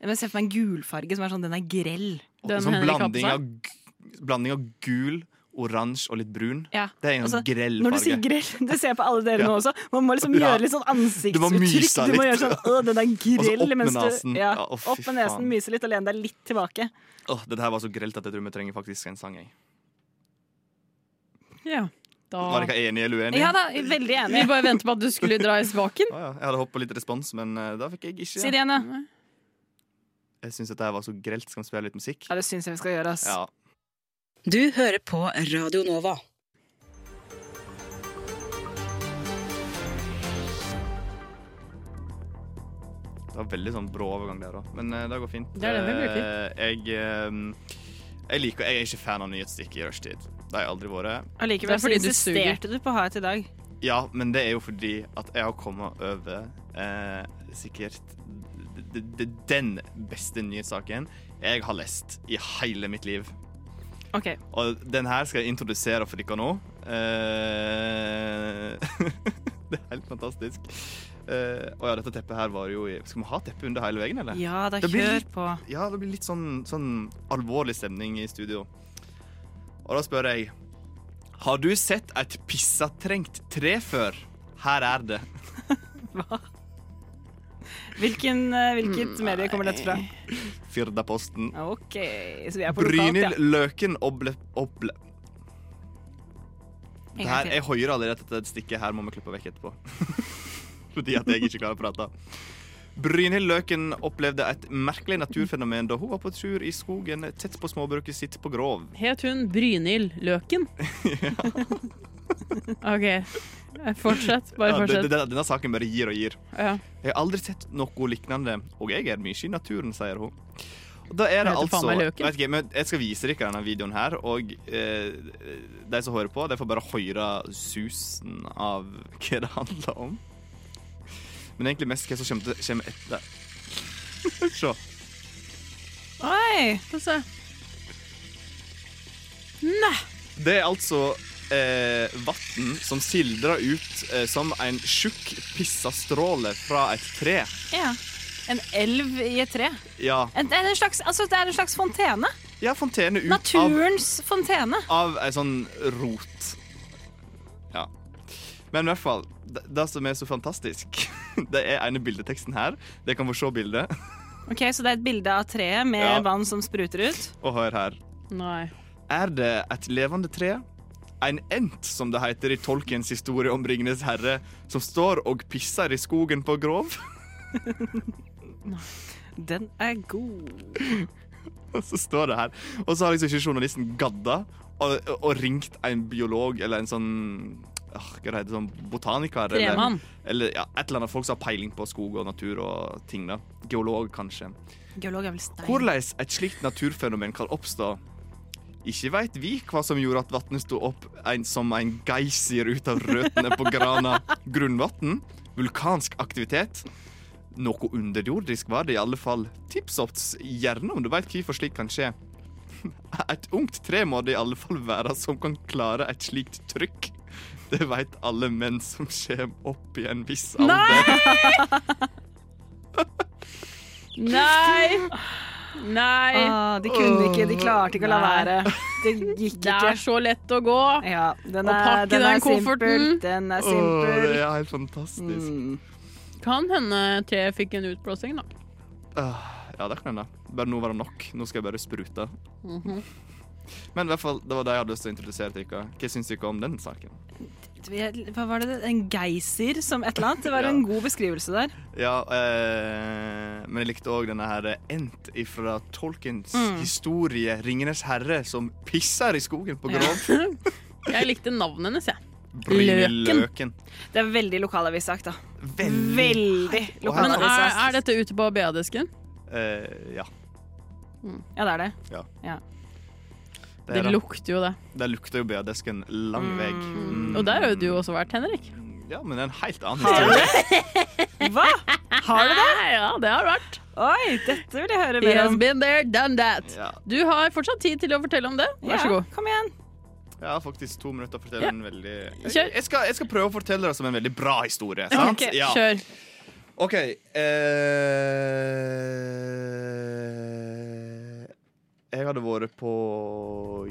Jeg ser for meg en gulfarge som er sånn, den er grell.
Og
Den
sånn
Henrik har på
blanding
seg.
av, gu- blanding av gul, oransje og litt brun.
Ja.
Det er en
Altså,
grell
Når du sier
farge.
grell, det ser jeg på alle dere
Ja.
nå også. Man må liksom
Ja.
gjøre litt sånn
Du må
ansiktsuttrykk.
myse
Du må
litt.
gjøre sånn Å, den er
Og så opp
grell.
med
mens du-
nesen.
Ja,
Ja, å, fy
opp med nesen,
faen.
myse litt og lene deg litt tilbake.
Åh, dette her var så grelt at jeg tror vi trenger faktisk en sang. Jeg.
Ja. Da
Var dere enige eller uenige?
Ja da, veldig
Vi
enig.
bare venter på at du skulle dra i spaken.
Å ja, jeg hadde håpet på litt respons, men eh, da fikk jeg
Si
ikke.
det igjen, da.
Jeg syns dette her var så grelt. Skal vi spille litt musikk?
Ja, det syns jeg vi skal gjøre, ass.
Ja.
Du hører på Radio Nova.
Det var veldig sånn brå overgang der òg, men eh, det går fint.
Det er det vi bruker.
Eh, jeg, eh, jeg liker Jeg er ikke fan av nyhetsstikk i rushtid. Det har jeg aldri vært.
Det
Allikevel
er
så
fordi du
insisterte du på å ha et i dag.
Ja, men det er jo fordi at jeg har kommet over eh, sikkert d- d- d- den beste nyhetssaken jeg har lest i hele mitt liv.
Ok.
Og den her skal jeg introdusere for dere nå. Eh, det er helt fantastisk. Uh, og ja, dette teppet her var jo i Skal vi ha teppe under hele veien, eller?
Ja, da
Det blir
kjør
litt-
på.
Ja, det blir litt sånn, sånn alvorlig stemning i studio. Og da spør jeg Har du sett et pissatrengt tre før? Her er det.
Hvilken, eh, hvilket
Mm,
medie kommer dette fra?
Firdaposten.
OK, så vi er på
Brynhild
lokalt, ja.
Løken Oble... Oble.
En
Det
gang
her,
til.
jeg hører allerede at dette stikket her må vi klippe vekk etterpå. Fordi at jeg ikke klarer å prate. Brynhild Løken opplevde et merkelig naturfenomen da hun var på tur i skogen tett på småbruket sitt på Grov.
Het hun Brynhild Løken? OK. eh, Fortsett. Bare
Ja, det- det-
fortsett.
denne, denne saken bare gir og gir.
Ja.
Jeg har aldri sett noe lignende, og jeg er mye i naturen, sier hun. Og da er
Hun
det
heter faen
altså
meg
vet
Løken.
ikke, men Jeg skal vise dere denne videoen her, og eh, de som hører på, de får bare høre susen av hva det handler om. Men egentlig mest hva som kommer til- kommer etter. Se.
Oi!
Få se. Nei!
Det er altså eh, vann som sildrer ut eh, som en tjukk pissa stråle fra et tre.
Ja. En elv i et tre.
Ja,
En, det, er en slags, altså, det er en slags fontene.
ja fontene ut av
Naturens fontene.
Av ei sånn rot. Ja. Men i hvert fall, det, det som er så fantastisk, det er ene bildeteksten her. Dere kan få se bildet.
Ok, Så det er et bilde av treet med
Ja.
vann som spruter ut.
Og hør her.
Nei.
Er det et levende tre? En ent, som det heter i Tolkiens historie om Ringenes herre, som står og pisser i skogen på Grov?
Den er god.
Og så står det her. Og så har liksom ikke journalisten gadda og, og ringt en biolog eller en sånn åh, Hva det heter sånn botaniker? Eller,
Tremann.
eller ja, et eller annet folk som har peiling på skog og natur og ting. da Geolog, kanskje.
Geolog er vel stein.
Hvordan et slikt naturfenomen kan oppstå? Ikke veit vi hva som gjorde at vannet sto opp en, som en geysir ut av røttene på grana. Grunnvann? Vulkansk aktivitet? Noe underjordisk var det i alle fall. Tips oss gjerne om du veit hvorfor slikt kan skje. Et ungt tre må det i alle fall være som kan klare et slikt trykk. Det veit alle menn som kommer opp i en viss alder.
Nei! Nei.
Ah, de kunne ikke, de klarte ikke å la
Nei.
være. Det gikk
Det
ikke.
er så lett å gå.
Ja,
Å
den er,
pakke
den
den
er simpel.
kofferten.
Den er
Åh, det
simpel.
er helt fantastisk.
Mm.
Kan hende treet fikk en utblåsing, da.
Øh, ja, det kan hende. Bare nå var det nok. Nå skal jeg bare sprute.
Mhm.
Men i hvert fall, det var det jeg hadde lyst til å introdusere til dere. Hva syns dere om den saken?
Hva var det? En geysir som et eller annet? Det var
Ja.
en god beskrivelse der.
Ja, eh, men jeg likte òg denne her eh, Ent ifra Tolkens
Mm.
historie 'Ringenes herre' som pisser i skogen på Grov.
Jeg likte navnet hennes, jeg.
Brynhild
Løken.
Løken.
Det er veldig lokalavissak, da.
Veldig
Veldig
Og her
Men
er
er,
det-
er dette ute på BA-disken?
eh, Ja.
Ja, det er det.
Det,
Det
er, det.
lukter jo det.
det lukter jo BA-desken lang vei. Mm.
Og der har jo du også vært, Henrik.
Ja, men det er en helt annen historie.
Hva? Har du det?
Ja, det har du vært.
Oi, dette vil jeg høre
He
mer
has
om.
been there, done that.
Ja,
Du har fortsatt tid til å fortelle om det. Vær så
Ja,
god.
Kom igjen.
jeg har faktisk to minutter å fortelle
Ja.
en veldig
Kjør.
jeg, jeg, skal, jeg skal prøve å fortelle det som en veldig bra historie. Sant?
Ok,
Ja.
Kjør.
OK eh, Jeg hadde vært på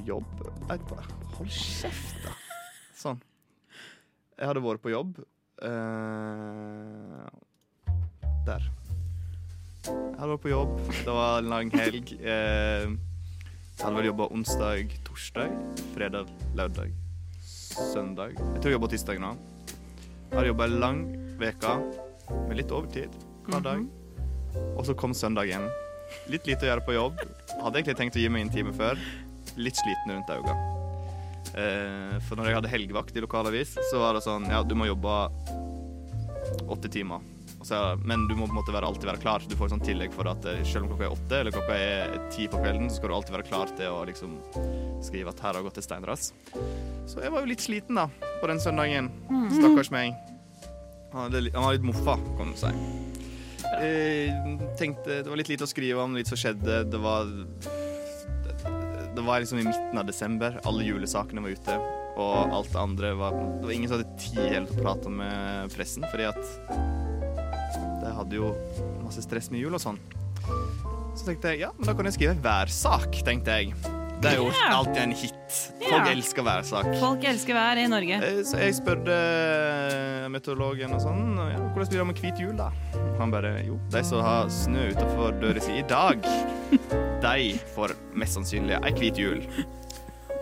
jobb et, Hold kjeft, da! Sånn. Jeg hadde vært på jobb eh, Der. Jeg hadde vært på jobb. Det var en lang helg. Eh, jeg hadde vel jobba onsdag, torsdag, fredag, lørdag, søndag. Jeg tror jeg jobba tirsdag nå. Jeg hadde jobba ei lang veke med litt overtid hver dag. Og så kom søndagen. Litt lite å gjøre på jobb. Hadde egentlig tenkt å gi meg en time før. Litt sliten rundt øynene. Eh, for når jeg hadde helgevakt i lokalavis, så var det sånn Ja, du må jobbe åtte timer. Og så er det- men du må på en måte være, alltid være klar. Du får sånn tillegg for at eh, selv om klokka er åtte eller klokka er ti på kvelden, så skal du alltid være klar til å liksom skrive at her har gått et steinras. Så jeg var jo litt sliten, da, på den søndagen. Stakkars meg. Han, hadde, litt- han var litt moffa, kan du si. Eh, tenkte, det var litt lite å skrive om, litt som skjedde. Det var det var liksom i midten av desember. Alle julesakene var ute. Og alt det andre var Det var ingen som hadde tid helt til å prate med pressen, fordi at det hadde jo masse stress med jul og sånn. Så tenkte jeg ja, men da kan jeg skrive hver sak, tenkte jeg. Det er jo
Ja.
alltid en hit. Folk
Ja.
elsker hver sak.
Folk elsker vær i Norge.
Eh, Så jeg spurte eh, meteorologen og sånn ja, Hvordan blir det med hvit jul, da? Han bare Jo, de som har snø utenfor døra si i dag, de får mest sannsynlig ei hvit jul.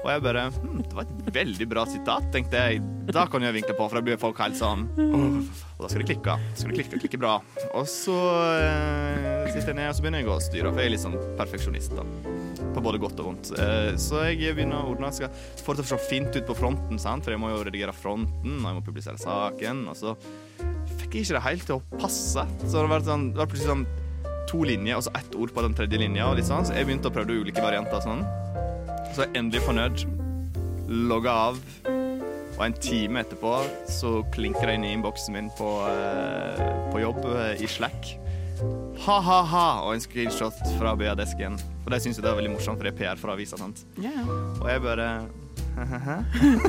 Og jeg bare hm, Det var et veldig bra sitat, tenkte jeg. Da kan jeg vinkle på, for da blir folk helt sånn «Åh», Og da skal de klikke. Skal de klikke, klikke bra. Og så eh, sitter jeg ned og så begynner jeg å styre, for jeg er litt sånn perfeksjonist. da på både godt og vondt. Eh, Så jeg begynner å ordne. Skal få det til å se fint ut på fronten, sant? for jeg må jo redigere fronten, og jeg må publisere saken. Og så fikk jeg ikke det helt til å passe. Så det var, sånn, det var plutselig sånn to linjer og så ett ord på den tredje linja. Og litt sånn. Så jeg begynte å prøve ulike varianter og sånn. Så jeg er endelig fornøyd. Logga av. Og en time etterpå så klinker det inn i innboksen min på, eh, på jobb eh, i Slack. Ha-ha-ha! Og en screenshot fra BA-desken. For de syns jo det er veldig morsomt, for det er PR fra avisa. sant?
Ja, ja.
Og jeg bare Hæ?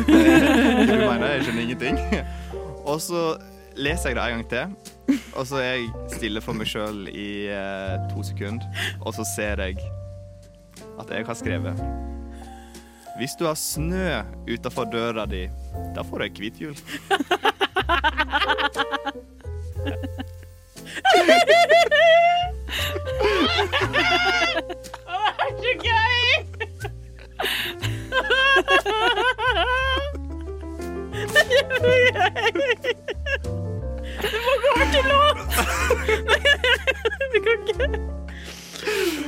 Du mener jeg skjønner ingenting? Og så leser jeg det en gang til, og så er jeg stille for meg sjøl i eh, to sekunder, og så ser jeg at jeg har skrevet Hvis du har snø utafor døra di, da får du ei hvit jul.
Det er så gøy! Du må gå over til låt! Du kan ikke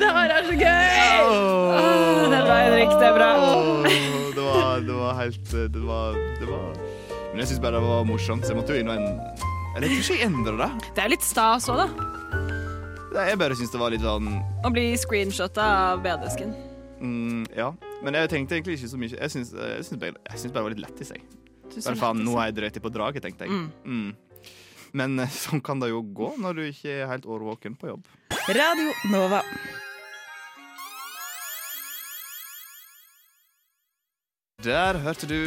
Det her er så gøy!
Åh, Det er bra, Henrik. Det er bra.
Åh, det, var, det var helt eh, Det var, det var Men jeg syns bare det var morsomt, så jeg måtte jo inn og en... Eller jeg tror ikke jeg endrer det.
Det er jo litt stas òg, da.
Nei, Jeg bare syns det var litt sånn
Å bli screenshotta av BD-esken.
mm, Ja. Men jeg tenkte egentlig ikke så mye. Jeg syns, jeg syns, bare, jeg syns bare det var litt lættis, jeg. Bare faen, nå er jeg drøyt i på draget, tenkte jeg. Mm. Men eh, sånn kan det jo gå når du ikke er helt årvåken på jobb.
Radio Nova.
Der hørte du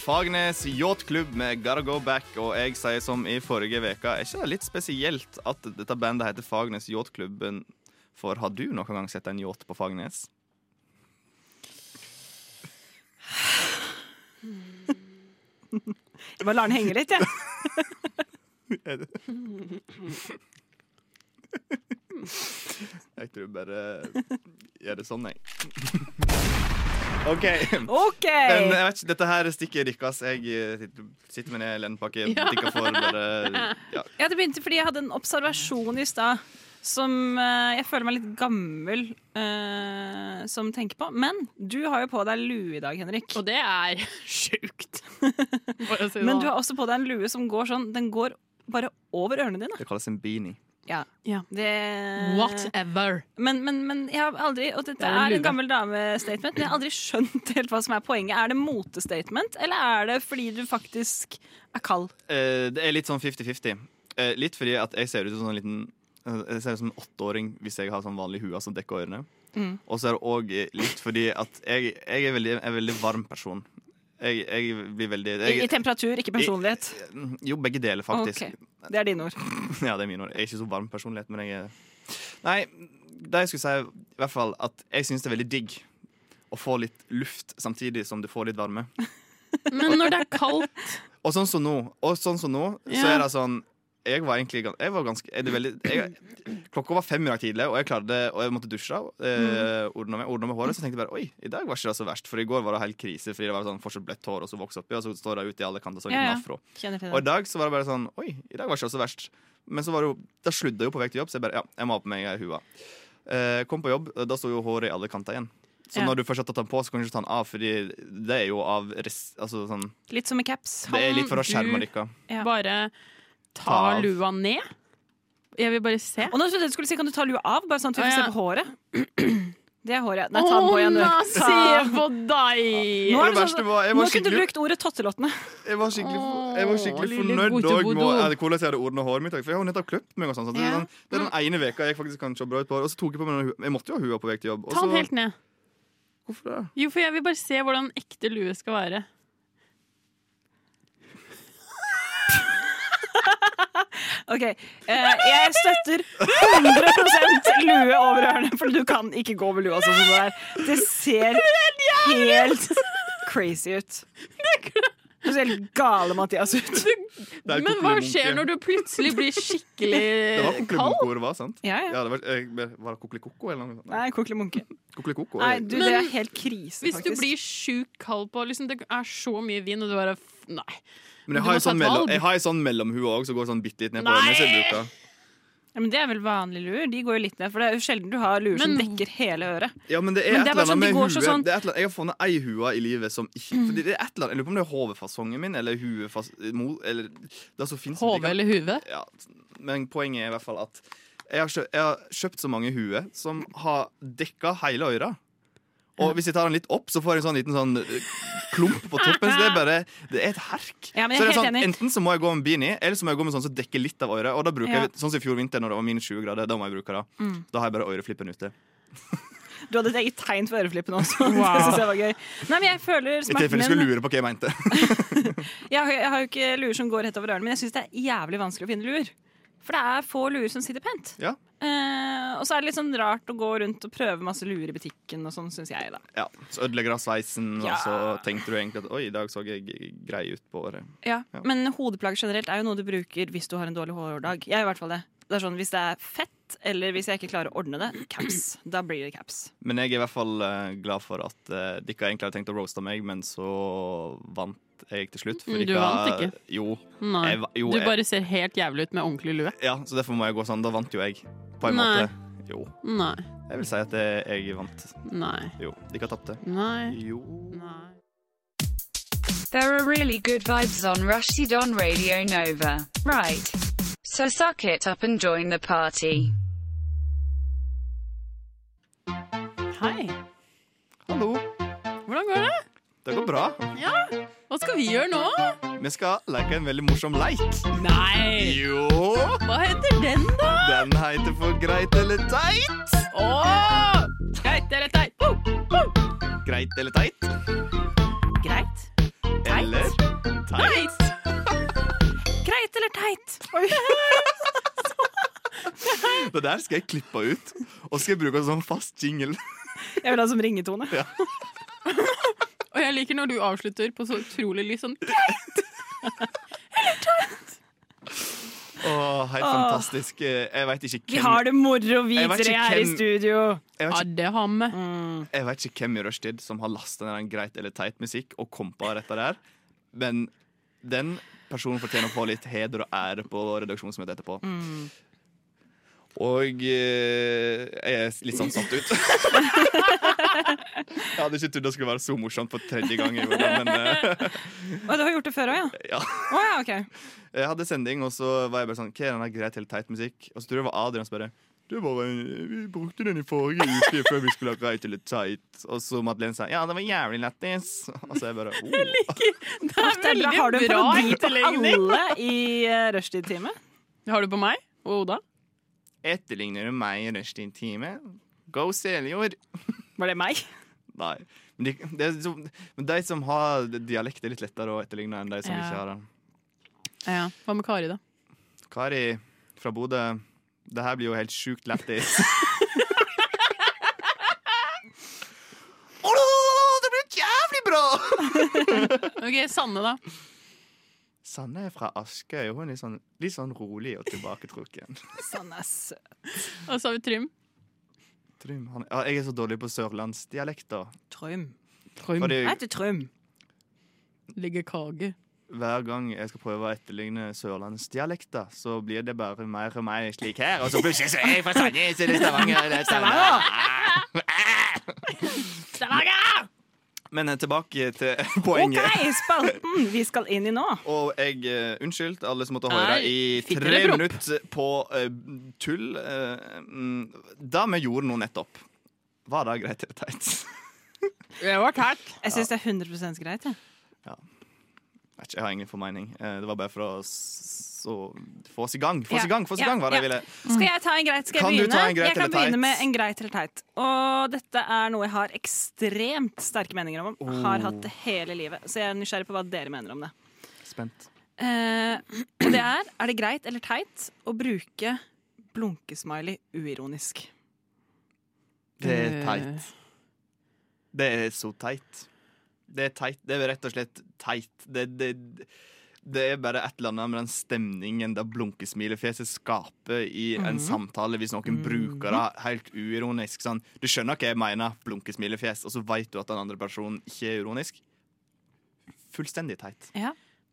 Fagernes Yachtklubb med Gotta Go Back, og jeg sier som i forrige veka, er ikke det litt spesielt at dette bandet heter Fagernes Yachtklubben? For har du noen gang sett en yacht på Fagernes?
Jeg bare lar den henge litt, jeg.
Jeg tror bare gjør det sånn, jeg. OK.
OK!
Men jeg vet ikke, dette her stikker deres. Jeg eh, sitter- sitter med ned i lenpakke.
Ja.
Dere får bare ja.
Ja, det begynte fordi jeg hadde en observasjon i stad som eh, jeg føler meg litt gammel eh, som tenker på. Men du har jo på deg lue i dag, Henrik. Og det er sjukt. Men du har også på deg en lue som går sånn, den går bare over ørene dine.
Det kalles en beanie.
Ja. Det
Whatever.
Men, men, men jeg har aldri Og dette
Det er en
er,
lue.
en gammel dame-statement, men jeg har aldri skjønt helt hva som er poenget. Er det motestatement, eller er det fordi du faktisk er kald?
Eh, det er litt sånn 50-50. Eh, litt fordi at jeg ser ut som en liten eh, Jeg ser ut som en åtteåring hvis jeg har sånn vanlig hue som dekker ørene.
Mm.
Og så er det òg litt fordi at jeg, jeg er veldig, en veldig varm person. Jeg, jeg blir veldig
I,
jeg,
I temperatur, ikke personlighet.
Jo, begge deler, faktisk.
Ok, Det er dine ord.
Ja, det er mine ord. Jeg er ikke så varm personlighet, men jeg er Nei, det jeg skulle si, i hvert fall at jeg syns det er veldig digg å få litt luft samtidig som du får litt varme.
Men når det er kaldt
Og sånn som nå, og sånn som nå så
Ja.
er det sånn jeg var egentlig gans- jeg var ganske er det veldig, jeg, Klokka var fem i dag tidlig, og jeg klarte og jeg måtte dusje. Og, eh, ordna, med, ordna med håret. Så tenkte jeg bare oi, i dag var ikke det så verst. For i går var det helt krise, fordi det var sånn fortsatt bløtt hår, og så vokste opp i, og så står det ut i alle kanter. Så
Ja, ja.
ja, afro.
Kjenner til det.
Og i dag så var det bare sånn Oi, i dag var ikke det så verst. Men så var det jo, da sludde jeg jo på vei til jobb, så jeg bare ja, jeg må ha på meg hua. Eh, kom på jobb, da sto jo håret i alle kanter igjen. Så
Ja.
når du først har tatt den på, så kan du ikke ta den av, fordi det er jo av res, altså sånn
Litt som med caps.
Det er litt for å skjerme dere.
Bare ta
Ta av.
lua ned. Jeg vil bare se.
Og nå trodde jeg du skulle si Kan du ta lua av, bare sånn at vi
Å,
får
ja.
se på håret? Det er håret. Nei, ta den på igjen, du.
Å,
Ta-
Se på deg!
Nå, er det sånn, nå kunne du brukt ordet tottelottene.
Jeg var skikkelig, jeg var skikkelig
lille
fornøyd
Bojo
dog med
Bojo.
eh, hvordan jeg hadde ordna håret mitt. For jeg har jo nettopp klippet meg. og sånn, så det, er
Ja.
sånn, det er den ene veka jeg faktisk kan se bra ut på. Og så tok jeg på meg den hua. Jeg måtte jo ha hua på vei til jobb. og
Ta den
så-
helt ned.
Hvorfor det?
Jo, for jeg vil bare se hvordan ekte lue skal være.
OK. eh, jeg støtter 100 lue over ørene, for du kan ikke gå med lua sånn som det er. Det ser helt crazy ut. Du ser helt gale Mathias ut.
Det er
Men hva skjer når du plutselig blir
Det var
skikkelig kald?
kokkelimonko det var, sant?
Ja, ja.
det var, eh, var det kokkelikonko eller noe sånt?
Nei, kokelig munke.
Kokkelikonko,
Nei,
eh,
du,
Men
det er helt krise,
Hvis du
faktisk.
blir sjukt kald på liksom, Det er så mye vind, og du bare f- Nei.
Men
du
jeg
må
har en
ta
sånn,
et
mellom,
valg.
jeg har en sånn mellomhue òg, som går sånn bitte litt ned på
Nei!
øynene.
Ja, men det er vel vanlige luer? De går jo litt ned, for det er jo sjelden du har luer som dekker hele øret.
Ja, men det er et
Men det er
eller
bare
annet
sånn, de
med
går
huet.
så sånn-
Det er et eller annet, jeg har funnet ei hue i livet som ikke
Mm.
fordi det er et eller annet, Jeg lurer på om det er hovedfasongen min eller huefas... mo- Eller det som finnes
Hove eller huve?
ja, Men poenget er i hvert fall at jeg har, kjøpt, jeg har kjøpt så mange huer som har dekka hele øra. Og hvis jeg tar den litt opp, så får jeg en sånn liten sånn eh, klump på toppen. Så det er bare Det er et herk.
Ja, men
så det er
jeg er helt
sånn,
enig.
Enten så må jeg gå med beanie, eller så må jeg gå med sånn som dekker litt av øret. Og da bruker
Ja.
jeg, Sånn som i fjor vinter, når det var minus 20 grader. Da må jeg bruke det.
Mm.
Da har jeg bare øreflippen ute.
Du hadde et eget tegn for øreflippene også. Det synes jeg var gøy. Nei, men jeg føler
I tilfelle jeg
smerten
skulle
min.
lure på hva jeg mente.
Jeg har, jeg har jo ikke luer som går rett over ørene, men jeg syns det er jævlig vanskelig å finne luer. For det er få luer som sitter pent.
Ja.
Eh, og så er det litt sånn rart å gå rundt og prøve masse luer i butikken og sånn, syns jeg, da.
Ja, Så ødelegger han sveisen,
Ja.
og så tenkte du egentlig at oi, i dag så jeg g- grei ut på håret.
Ja,
Ja.
Men hodeplagg generelt er jo noe du bruker hvis du har en dårlig hårdag. Jeg gjør i hvert fall det. Det er sånn, Hvis det er fett, eller hvis jeg ikke klarer å ordne det, caps. Da blir det caps.
Men jeg er i hvert fall eh, glad for at uh, dere egentlig hadde tenkt å roaste meg, men så vant jeg til slutt.
Mm, du
dere-
vant ikke.
Jo.
Nei.
Jeg va- jo,
Du
jeg-
bare ser helt jævlig ut med ordentlig lue.
Ja, så derfor må jeg gå sånn. Da vant jo jeg, på en
Nei.
måte. Jo.
Nei.
Jeg vil si at eh, jeg vant.
Nei.
Jo. Dere tapte.
Nei.
Jo.
Nei.
There are really good vibes on Rushdie on Radio Nova. Right. So suck it up and join the party.
Hei.
Hallo.
Hvordan går det?
Det går bra.
Ja. Hva skal vi gjøre nå?
Vi skal leke en veldig morsom leik.
Nei!
Jo!
Hva heter den, da?
Den heter For greit eller teit.
Åh! Greit eller teit? Oh, oh.
Greit eller teit?
Greit.
Eller teit?
Teit!
Greit eller teit?
Det der skal jeg klippe ut, og skal jeg bruke en sånn fast jingle.
Jeg vil ha som ringetone.
Og jeg liker når du avslutter på så utrolig litt sånn
Åh, helt fantastisk. Jeg vet ikke
Vi
hvem,
har det moro, vi
Jeg vet
tre
ikke
her i
hvem- jeg
studio.
vet ikke,
addehamme.
Mm.
jeg vet ikke hvem i rushtid som har lasta ned en greit eller teit musikk og kompa dette der, men den personen fortjener å få litt heder og ære på redaksjonsmøtet etterpå.
Mm.
Og eh, jeg er litt sånn satt ut. jeg hadde ikke trodd det skulle være så morsomt for tredje gang. i år, Men eh,
Å, du har gjort det før òg, ja?
ja.
Å ja, OK.
Jeg hadde sending, og så var jeg bare sånn Hva er denne greit eller teit musikk? Og så tror jeg det var Adrian som bare du bare, Vi brukte den i forrige uke før vi skulle ha greit eller teit. Og så Madeleine sa ja, det var jævlig lættis. Og så jeg bare oh.
Det er
Det er bra.
veldig
Har du en
bra
parodi på
etterligning.
alle i eh, rushtid-teamet?
Har du på meg og Oda?
Etterligner du meg i rushtid-time? Go Seljord!
Var det meg?
Nei. Men de, det er så, men de som har dialekt, er litt lettere å etterligne enn de som
Ja.
ikke har den.
Ja. Hva med Kari, da?
Kari fra Bodø, det her blir jo helt sjukt lættis. Åh, det blir jævlig bra!
Ok, Sanne, da.
Sanne er fra Askøy. Hun er litt sånn, litt sånn rolig og tilbaketrukken.
Sånn er søt.
Og så har vi Trym.
Trym, han, ja, jeg er så dårlig på sørlandsdialekter.
Trym.
Trym
Fordi
Jeg heter Trym.
ligger kage.
hver gang jeg skal prøve å etterligne sørlandsdialekter, så blir det bare mer og mer slik her. Og så plutselig så er jeg fra Sandnes eller Stavanger. Eller Stavanger. Men eh, tilbake til
OK,
poenget.
spalten vi skal inn i nå.
Og jeg eh, Unnskyld til alle som måtte høre
Nei,
i
fitte
tre
eller propp?
minutter på eh, tull. eh, mm, det vi gjorde nå nettopp, var det greit eller teit?
Det var tært.
Jeg syns det er 100 greit. jeg.
Vet ikke, Jeg har ingen formening. Eh, Det var bare for å s- så få oss i gang. Få oss i gang, få oss i gang, var det jeg ville.
Skal jeg ta en greit? Skal
Kan du
jeg begynne?
ta en greit
jeg Mm. kan
eller teit?
begynne med en greit eller teit. Og dette er noe jeg har ekstremt sterke meninger om. Har hatt det hele livet. Så jeg er nysgjerrig på hva dere mener om det.
Spent.
Eh, og det er er det greit eller teit å bruke blunkesmiley uironisk.
Det er
Eh.
teit. Det er så teit. Det er teit. Det er rett og slett teit. Det, det, det er bare et eller annet med den stemningen det blunkesmilefjeset skaper i en
Mhm.
samtale hvis noen bruker det helt uironisk. Sånn. Du skjønner hva jeg mener, blunkesmilefjes, og så vet du at den andre personen ikke er ironisk. Fullstendig teit.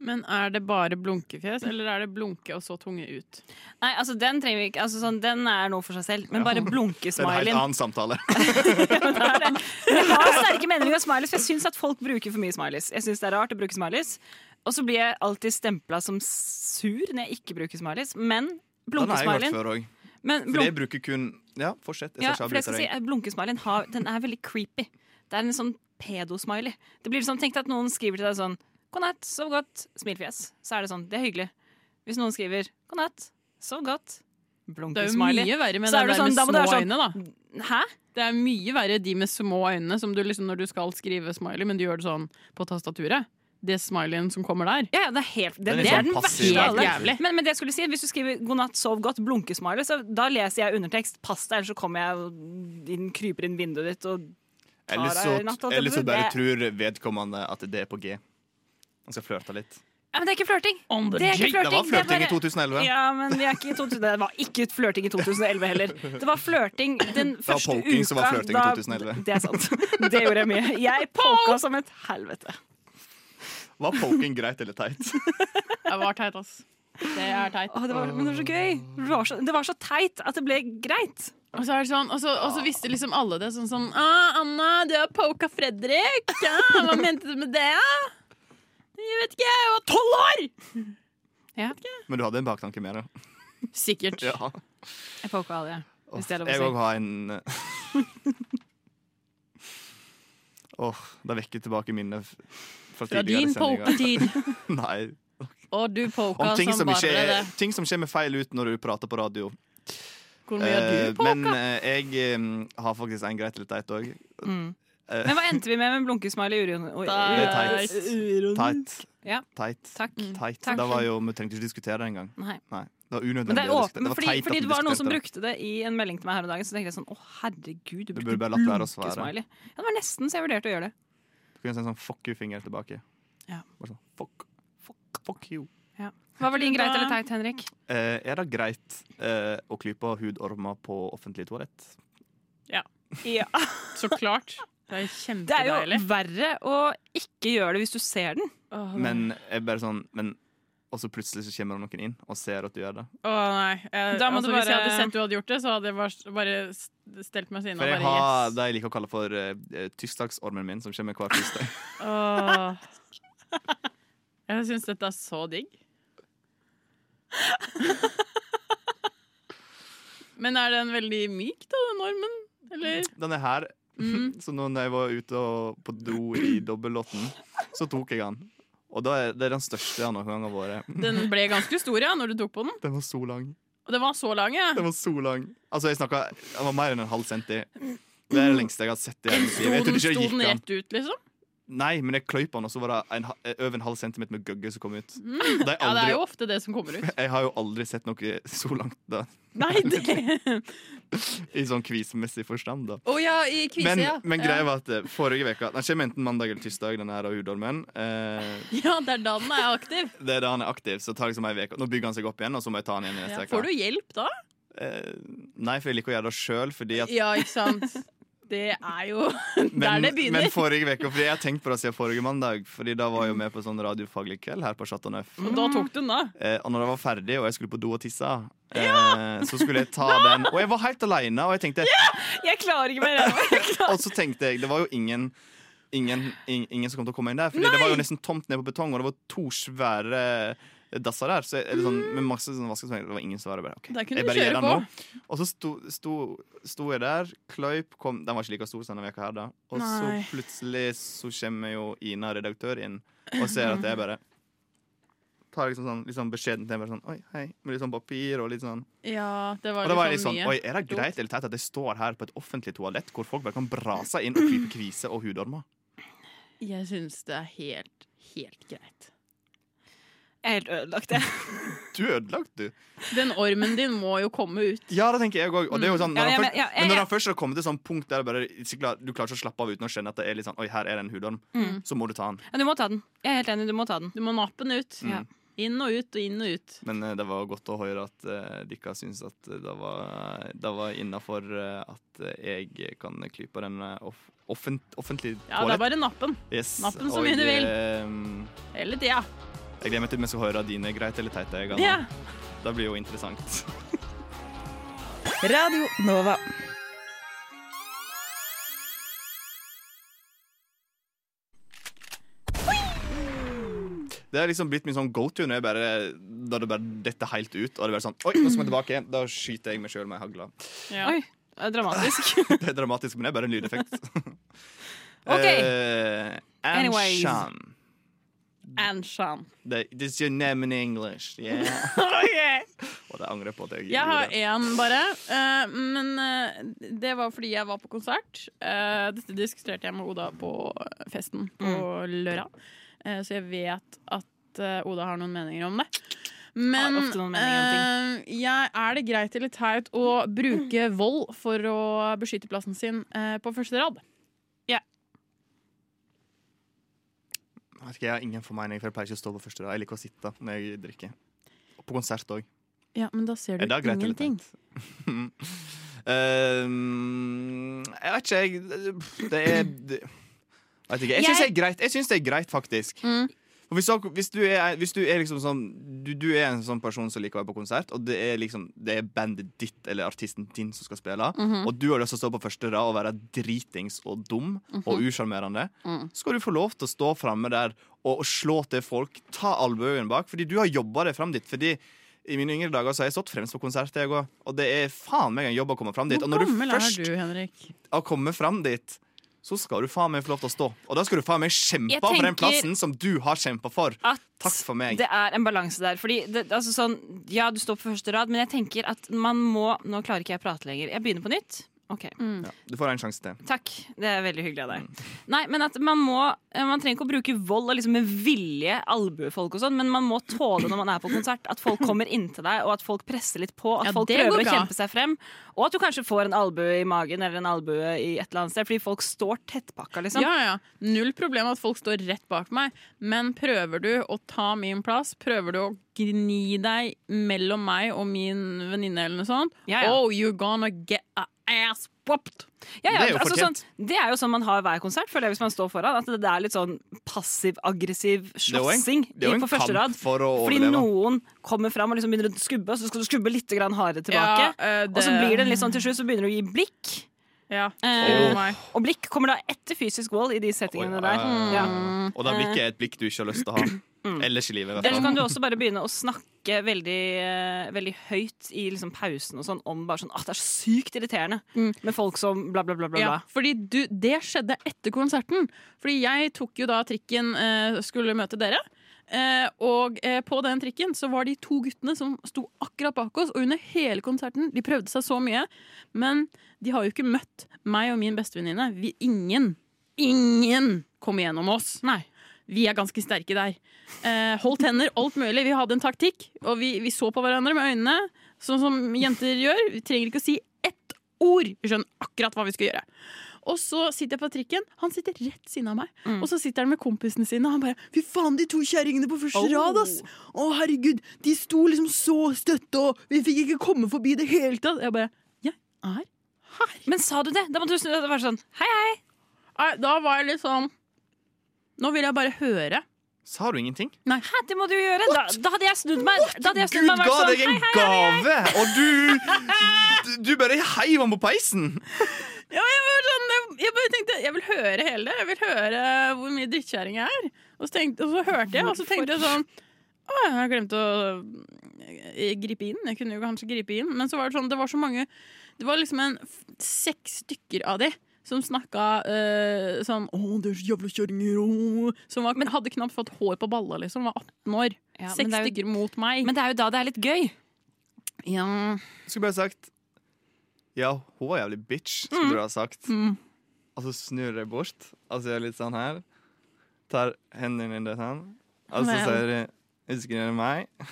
Men er det bare blunkefjes, eller er det blunke og så tunge ut?
Nei, altså den trenger vi ikke. Altså, sånn, den er noe for seg selv. Men bare
Det er en helt
blunkesmileyen.
annen samtale.
Jeg har sterke meninger om smileys, for jeg syns at folk bruker for mye smileys. Jeg synes det er rart å bruke smileys. Og så blir jeg alltid stempla som sur når jeg ikke bruker smileys. Men
Den har jeg hørt
blunkesmileyen
før òg.
Men
For
blunk-
jeg bruker kun Ja, fortsett. Jeg
Ja,
skal
for jeg
ikke
skal si,
avbryte deg.
eh, Blunkesmileyen har- den er veldig creepy. Det er en sånn pedosmiley. Det blir sånn, Tenk deg at noen skriver til deg sånn 'God natt, sov godt, smilfjes'. Så er det sånn. Det er hyggelig. Hvis noen skriver 'God natt, sov godt, blunkesmiley',
Det er jo mye verre med
så er
det der
du
med
sånn, da må
små
du være sånn,
øyne, da.
Hæ?
Det er mye verre de med små øyne, som du liksom når du skal skrive smiley, men du gjør det sånn på tastaturet. Det smileyen som kommer der.
Ja, det er helt
det,
Den
er
liksom
det er
den
den verste av
helt
alle.
jævlig.
Men, men det jeg skulle si, hvis du skriver 'god natt, sov godt, blunkesmiley', så da leser jeg undertekst. Pass deg, ellers så kommer jeg og inn, kryper inn vinduet ditt og tar
Eller
deg i natt.
så,
holdt jeg på å
eller
si.
så bare
Det-
tror vedkommende at det er på G. Han skal flørte litt.
Ja, men det er ikke flørting.
the
Det, er ikke
G. Det var
flørting, er
flørting i 2011.
Ja, men vi er ikke i 2000, det var ikke flørting i 2011 heller. Det var flørting den
var
første uka.
poking som var flørting i
da-
2011.
Det er sant. Det gjorde jeg mye. Jeg poka som et helvete.
Var poking greit eller teit?
Det var teit, ass. Det er teit.
Å, det var, men det var så gøy. Det var så, det var så teit at det ble greit.
Og så, er det sånn, og, så, og så visste liksom alle det sånn sånn ah, 'Anna, du har poka Fredrik. Ja, hva mente du med det?' Jeg vet ikke, jeg var tolv år!
Men du hadde en baktanke med det.
Sikkert.
Ja.
Jeg poka alle, jeg. Hvis det er lov
Jeg òg
å si.
har en eh, Åh, det vekker tilbake minnet f- fra
Fra
tidligere
din
sendinger.
poketid.
Nei.
Og du poka
Om ting
som
som,
bare
ikke
det.
er, ting som kommer feil ut når du prater på radio.
Hvor mye har
Eh,
du poka?
men eh, jeg eh, har faktisk en greit eller teit Eh, òg.
Mm. Men hva endte vi med med blunkesmiley uron? oi,
Det er
uro-
teit.
uronisk?
Teit.
Ja.
Teit.
Takk.
Teit.
Takk.
Det var jo, vi trengte ikke diskutere det engang.
Nei.
Det var
Men det
unødvendig
er
å
åpen,
diskutere. Det var
fordi,
teit at
fordi
vi
det var noen som
diskuterte det.
brukte det i en melding til meg her om dagen. Så tenkte jeg sånn, å herregud,
Du
du brukte
burde bare latt være å svare.
blunkesmiley. Ja, det var nesten så jeg vurderte å gjøre det.
Du kunne sendt sånn fuck you-finger tilbake.
Ja.
Bare sånn, fuck, fuck, fuck you.
Ja. Hva var din greit eller teit, Henrik?
Eh, er det greit eh, å klype hudormer på offentlig toalett?
Ja.
Ja.
Så klart. Det er
Det er jo
kjempedeilig.
verre å ikke gjøre det hvis du ser den.
Men jeg bare sånn men, Og så plutselig så kommer det noen inn og ser at du gjør det.
Å nei. Jeg,
Da må
altså,
du
Hvis jeg
bare-
hadde sett du hadde gjort det, så hadde jeg bare, bare st- stelt meg siden og
For jeg
bare
har
yes.
det jeg liker å kalle for eh, eh, tirsdagsormen min, som kommer hver tirsdag.
Åh. Jeg syns dette er så digg. Men er den veldig myk, da, den ormen? Eller?
Den er her.
Mm.
Så nå når jeg var ute og på do i dobbeltlåten, så tok jeg den. Og da er det er den største jeg noen gang har vært.
Den ble ganske stor, ja, når du tok på den.
Den var så lang.
Og den var så lang, ja.
Den var så lang. Altså, jeg snakka Den var mer enn en halv centi. Det er det lengste jeg har sett i hele mitt
Sto
liv. Jeg
den,
trodde ikke
sto
det
den
gikk an.
rett ut, liksom?
Nei, men jeg kløyp den, og så var det en, ha- eh, over en halv centimeter med gøgge som kom ut.
Mm.
Det er
Ja, det
aldri-
er jo ofte det som kommer ut.
Jeg har jo aldri sett noe så langt da.
Nei, det
i sånn kvisemessig forstand, da.
Å ja, i kvise,
men,
ja.
men
ja.
greia var at eh, forrige veka Den kommer enten mandag eller tirsdag, den her av Hudormen. Eh,
ja, det er da den er aktiv.
det er da han er aktiv, så det tar liksom en veke. Nå bygger han seg opp igjen, og så må jeg ta han igjen i neste
Ja.
veke.
Får du hjelp da?
Eh, nei, for jeg liker å gjøre det sjøl, fordi at
Ja, ikke sant? Det er jo der
men,
det begynner.
men forrige veke, fordi jeg har tenkt på det siden forrige mandag, Fordi da var jeg jo med på sånn radiofaglig kveld her på Chateau Neuf.
Og da tok du den, da.
Eh, og når jeg var ferdig og jeg skulle på do og tisse, eh, så skulle jeg ta den. Og jeg var helt aleine, og jeg tenkte
Jeg klarer ikke mer.
Og så tenkte jeg, det var jo ingen Ingen, ing- ingen som kom til å komme inn der. Fordi det var jo nesten tomt nede på betong, og det var to svære dasser der. Så jeg, eller sånn, med masse sånn vaskesmenger. Det var ingen som var der. Bare, ok,
Der kunne
jeg
du
bare gjør
kjøre
den nå. Og så sto, sto, sto jeg der, kløyp, kom Den var ikke like stor som denne veka her, da. Og
Nei.
så plutselig så kommer jo Ina, redaktør, inn og ser at jeg bare tar liksom sånn, litt sånn beskjeden til meg sånn, Oi, hei, med litt sånn papir og litt sånn
Ja, det var
Og da var jeg litt
liksom
sånn, Oi,
mye.
er det greit eller teit at jeg står her på et offentlig toalett hvor folk bare kan brase inn og krype kviser og hudormer?
Jeg syns det er helt, helt greit.
Jeg er helt ødelagt, jeg.
Du er ødelagt, du.
Den ormen din må jo komme ut.
Ja, det tenker jeg òg. Og det er jo sånn,
Mm. Ja,
når
ja,
han
men-
først,
ja, ja,
men når
ja.
han først har kommet til sånn punkt der det bare, ikke klar- du klarer ikke å slappe av uten å skjønne at det er litt sånn Oi, her er det en hudorm.
Mm.
Så må du ta den.
Ja, du må ta den. Jeg er helt enig, du må ta den.
Du må nappe den ut.
Mm. Ja.
Inn og ut og inn og ut.
Men eh, det var godt å høre at uh, dere syns at det var, det var innafor eh, at jeg kan klype den eh, off offent offentlig
Ja, det er bare nappen.
Yes.
Nappen så
og,
mye du vil.
eh,
Hele tida.
Jeg gleder meg til vi skal høre dine greit eller teite. Ganna.
Ja.
Det blir jo interessant.
Radio Nova.
Det har liksom blitt min sånn go-to når jeg bare, da det bare detter helt ut. Og det er bare sånn, oi, nå skal vi tilbake Da skyter jeg meg sjøl med hagla.
Oi, det er dramatisk.
det er dramatisk, men det er bare en lydeffekt.
Ok.
Eh,
Anyways.
Anshan.
Anshan.
The- This is your name in English. Yeah.
Ok.
Og det angrer jeg på at jeg
Jeg har
gjorde.
én bare, eh, men eh, det var fordi jeg var på konsert. Eh, dette diskuterte jeg med Oda på festen på lørdag, Eh, så jeg vet at eh, Oda har noen meninger om det. Men
Har ofte noen meninger
eh, jeg, er det greit eller teit å bruke vold for å beskytte plassen sin eh, på første rad?
Jeg vet ikke, jeg har ingen formening, for jeg pleier ikke å stå på første rad. Jeg liker å sitte når jeg drikker. Og på konsert òg.
Ja, men da ser
Er
du
det greit eller
ingenting.
Ehm, jeg vet ikke, jeg Det er det, vet ikke. Jeg syns det er greit, jeg synes det er greit faktisk.
Mm.
For hvis, du- hvis, du er, hvis du er liksom sånn du, du er en sånn person som liker å være på konsert, og det er liksom Det er bandet ditt eller artisten din som skal spille,
Mhm.
og du har lyst til å stå på første rad og være dritings og dum og
Mhm.
usjarmerende,
Mm.
så skal du få lov til å stå framme der og slå til folk. Ta albuen bak, fordi du har jobba deg fram dit. Fordi i mine yngre dager så har jeg stått fremst på konsert, jeg òg. Og det er faen meg en jobb å komme fram dit.
Hvor
og når du
gammel
først
er du, Henrik?
har kommet fram dit, så skal du faen meg få lov til å stå. Og da skal du faen meg kjempe
Jeg
for den
tenker
plassen som du har kjempa for. Takk for meg.
Det er en balanse der. Fordi det, altså sånn, ja, du står på første rad, men jeg tenker at man må Nå klarer ikke jeg å prate lenger. Jeg begynner på nytt. Ok.
Ja, du får en sjanse til.
Takk. Det er veldig hyggelig av deg.
Mm.
Nei, men at man må eh, Man trenger ikke å bruke vold og liksom med vilje albue folk og sånn, men man må tåle når man er på konsert at folk kommer inntil deg, og at folk presser litt på, at
Ja,
folk
det går
prøver å
bra.
kjempe seg frem, og at du kanskje får en albue i magen eller en albue i et eller annet sted, fordi folk står tettpakka, liksom.
Ja, ja. Null problem at folk står rett bak meg, men prøver du å ta min plass, prøver du å gni deg mellom meg og min venninne eller noe sånt,
ja.
oh, you're gonna get a ass popped!
Ja, ja,
Det er jo
altså, sånn,
fortjent.
det er jo sånn man har hver konsert, føler jeg, hvis man står foran. At det er litt sånn passiv-aggressiv
er jo en-
slåssing
det er jo en
i- på første
kamp
rad.
for å
Fordi
overleve.
noen kommer fram og liksom begynner å skubbe, og så skal du skubbe litt grann hardere
Ja,
tilbake.
eh,
Og så
det-
blir det litt sånn til slutt, så begynner du å gi blikk. Eh,
Oh
Åh.
og blikk kommer da etter fysisk vold i de settingene der.
ah.
Mm. Ja.
Og da blikket er et blikk du ikke har lyst til å ha. Ellers i livet. i hvert
Eller
fall.
så Mm. kan du også bare begynne å snakke veldig, eh, veldig høyt i liksom pausen og sånn om bare sånn at det er så sykt irriterende med folk som bla, bla, bla, bla.
Ja,
bla.
fordi du, det skjedde etter konserten. Fordi jeg tok jo da trikken eh, skulle møte dere. Eh, og eh, på den trikken så var de to guttene som sto akkurat bak oss. Og under hele konserten, de prøvde seg så mye, men de har jo ikke møtt meg og min bestevenninne. Vi- Ingen, ingen kom igjennom oss. Vi er ganske sterke der. Eh, holdt hender, alt mulig. Vi hadde en taktikk, og vi, vi så på hverandre med øynene, sånn som jenter gjør. Vi trenger ikke å si ett ord. Vi skjønner akkurat hva vi skal gjøre. Og så sitter jeg på trikken, han sitter rett ved siden av meg.
Mm.
Og så sitter han med kompisene sine, og han bare 'Fy faen, de to kjerringene på første
Oh.
rad, ass!' Å, herregud, de sto liksom så støtte, og vi fikk ikke komme forbi det hele tatt. Jeg bare 'Jeg er
Men sa du det? Da måtte du snu deg og være sånn hei, hei.
Nei, Da var jeg litt sånn Nå vil jeg bare høre.
Sa du ingenting?
Nei.
Hæ, det må du jo gjøre. Da, da hadde jeg snudd meg. Da hadde jeg snudd
Gud
meg og
ga
vært sånn,
deg en
hei, hei, hei, hei.
gave, og du Du bare heiv han på peisen!
Ja, jeg, var sånn, jeg, jeg bare tenkte jeg vil høre hele det. Jeg vil høre hvor mye drittkjerring jeg er. Og så, tenkte, og så hørte jeg, og så tenkte jeg sånn Å, jeg glemte å eh, gripe inn. Jeg kunne jo kanskje gripe inn, men så var det sånn, det var så mange Det var liksom en f- seks stykker av de som snakka eh, sånn 'Å, det er så jævla kjerringer', å», som var, men hadde knapt fått hår på balla, liksom. Var 18 år.
Ja, men
Seks
det er jo-
stykker mot meg.
Men det er jo da det er litt gøy.
Ja.
Skulle bare sagt Ja, hun var jævlig bitch, skulle
Mm.
du ha sagt. Og så snur jeg bort, altså gjør litt sånn her. Tar hendene dine sånn. Og så
Vel.
sier jeg, 'Husker dere meg?'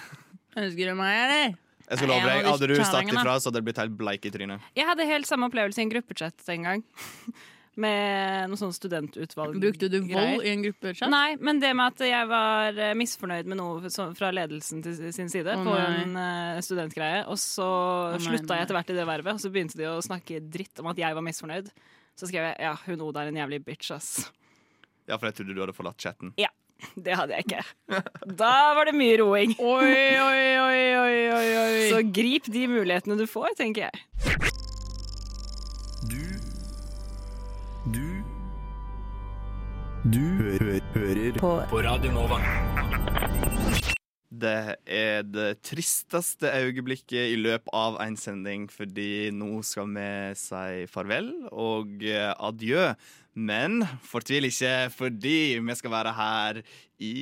Ønsker du meg, eller?
Jeg skal
Nei,
love
jeg
deg,
hadde
Hadde du
ikke
sagt
terningene.
ifra, så hadde du blitt helt bleik i trynet.
Jeg hadde helt samme opplevelse i en gruppechat en gang. Med noe sånn studentutvalg.
Brukte du vold
greier.
i en gruppechat?
Nei, men det med at jeg var eh, misfornøyd med noe så- fra ledelsen til sin side
Å,
på
nei.
en eh, studentgreie, og så
Å, nei,
slutta
nei.
jeg etter hvert i det vervet, og så begynte de å snakke dritt om at jeg var misfornøyd. Så skrev jeg ja, hun Oda er en jævlig bitch, ass.
Ja, for jeg trodde du hadde forlatt chatten.
Ja, det hadde jeg ikke. Da var det mye roing. Oi, oi, oi, oi, oi, oi. Så grip de mulighetene du får, tenker jeg.
Du Du hører på, Radio Nova.
Det er det tristeste øyeblikket i løpet av en sending, fordi nå skal vi si farvel og eh, adjø. Men fortvil ikke, fordi vi skal være her i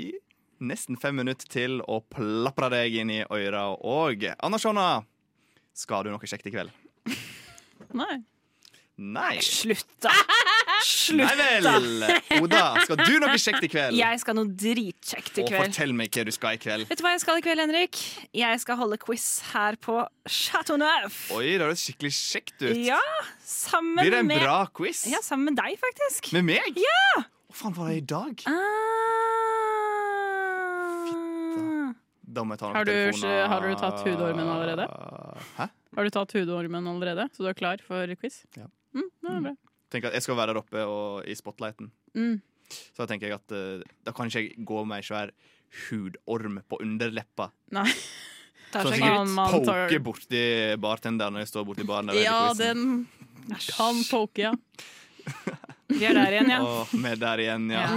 nesten fem minutter til og plapre deg inn i øra. Og Anna Sjonna, skal du noe kjekt i kveld?
Nei.
Nei.
Slutt, da!
Nei vel! Oda, skal du noe kjekt i kveld?
Jeg skal noe dritkjekt i
Og
kveld.
fortell meg hva du skal i kveld.
Vet du hva jeg skal i kveld, Henrik? Jeg skal holde quiz her på Chateau Neuf.
Oi, det høres skikkelig kjekt ut.
Ja, sammen med
Blir det en bra quiz?
Ja, sammen med deg, faktisk. Ah.
Med meg?
Ja!
Hva faen var det i dag? Da må jeg ta noen
Har du,
telefoner.
har du tatt hudormen allerede?
Hæ?
Har du tatt hudormen allerede, så du er klar for quiz?
Ja.
Mm, det er bra.
Tenk at jeg skal være der oppe og, i spotlighten.
Mm.
Så da tenker jeg at eh, da kan ikke jeg gå med ei svær hudorm på underleppa.
Nei.
Så jeg
Man-
Sånn sikkert
man tar-
poker borti bartenderen når jeg står borti baren. sånn. Der
Ja,
det
den Han poker, ja.
Vi er der igjen, ja.
Åh, vi er der igjen, ja.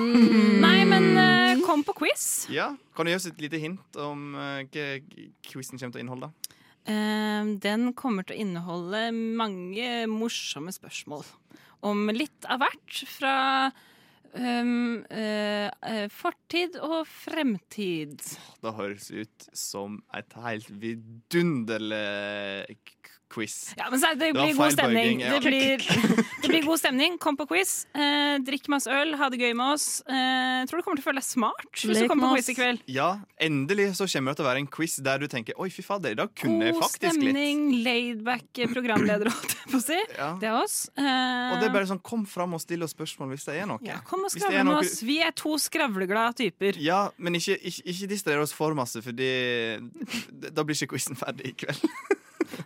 Nei, men eh, kom på quiz.
ja. Kan du gi oss et lite hint om eh, hva quizen kommer til å inneholde?
Ehm, den kommer til å inneholde mange morsomme spørsmål. Om litt av hvert fra ehm, eh, eh, fortid og fremtid.
Det høres ut som et helt vidunderlig k- quiz.
Ja, men så er det, det
var
blir god
feil
stemning.
bøyging, ja.
Det blir, det blir god stemning. Kom på quiz. Eh, drikk masse øl, ha det gøy med oss. Eh, tror du kommer til å føle deg smart hvis du
Lek med
kommer på
oss.
quiz i kveld.
Ja, endelig så kommer det til å være en quiz der du tenker Oi, fy fader, i dag kunne jeg
God
faktisk litt.
stemning, laidback programleder, holdt jeg på å si. Det er oss. Eh,
Og det er bare sånn, kom fram og still oss spørsmål hvis det er noe.
ja, kom og
Hvis det er
skravle med
noe-
oss. Vi er to skravleglade typer.
Ja, men ikke, ikke, ikke distraher oss for masse, fordi d- da blir ikke quizen ferdig i kveld.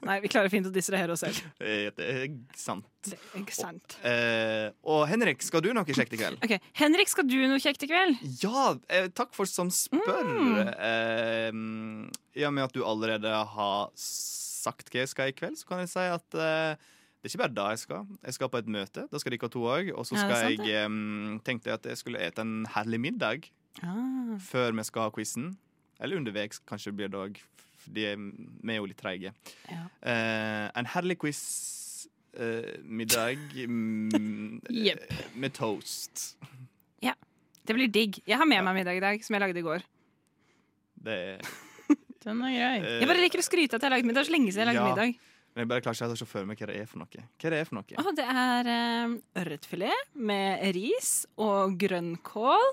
Nei, vi klarer fint å distrahere oss selv.
Eh, Det er sant.
Det er ikke sant.
Eh, og Henrik, skal du noe kjekt i kveld?
Ok, Henrik, skal du noe kjekt i kveld?
Ja, eh, takk for som spør.
Mm.
Eh, I og med at du allerede har sagt hva jeg skal i kveld, så kan jeg si at eh, det er ikke bare da jeg skal. Jeg skal på et møte. Da skal dere to òg. Og så
Ja, det er
skal
sant,
jeg eh, tenkte jeg at jeg skulle ete en herlig middag
Ah.
før vi skal ha quizen. Eller underveis, kanskje det blir det òg. Vi er jo litt treige. Eh, en herlig quiz. eh, middag mm,
Jepp.
med toast.
Ja. Det blir digg. Jeg har med meg middag i dag, som jeg lagde i går.
Det er
Den er grei.
Eh,
Jeg bare liker å skryte at jeg har lagd middag. Det er så lenge siden jeg lagde
ja.
middag.
Men jeg bare klarer ikke helt å se for meg hva det er for noe. Hva det er for noe?
Å, det er eh, ørretfilet med ris og grønnkål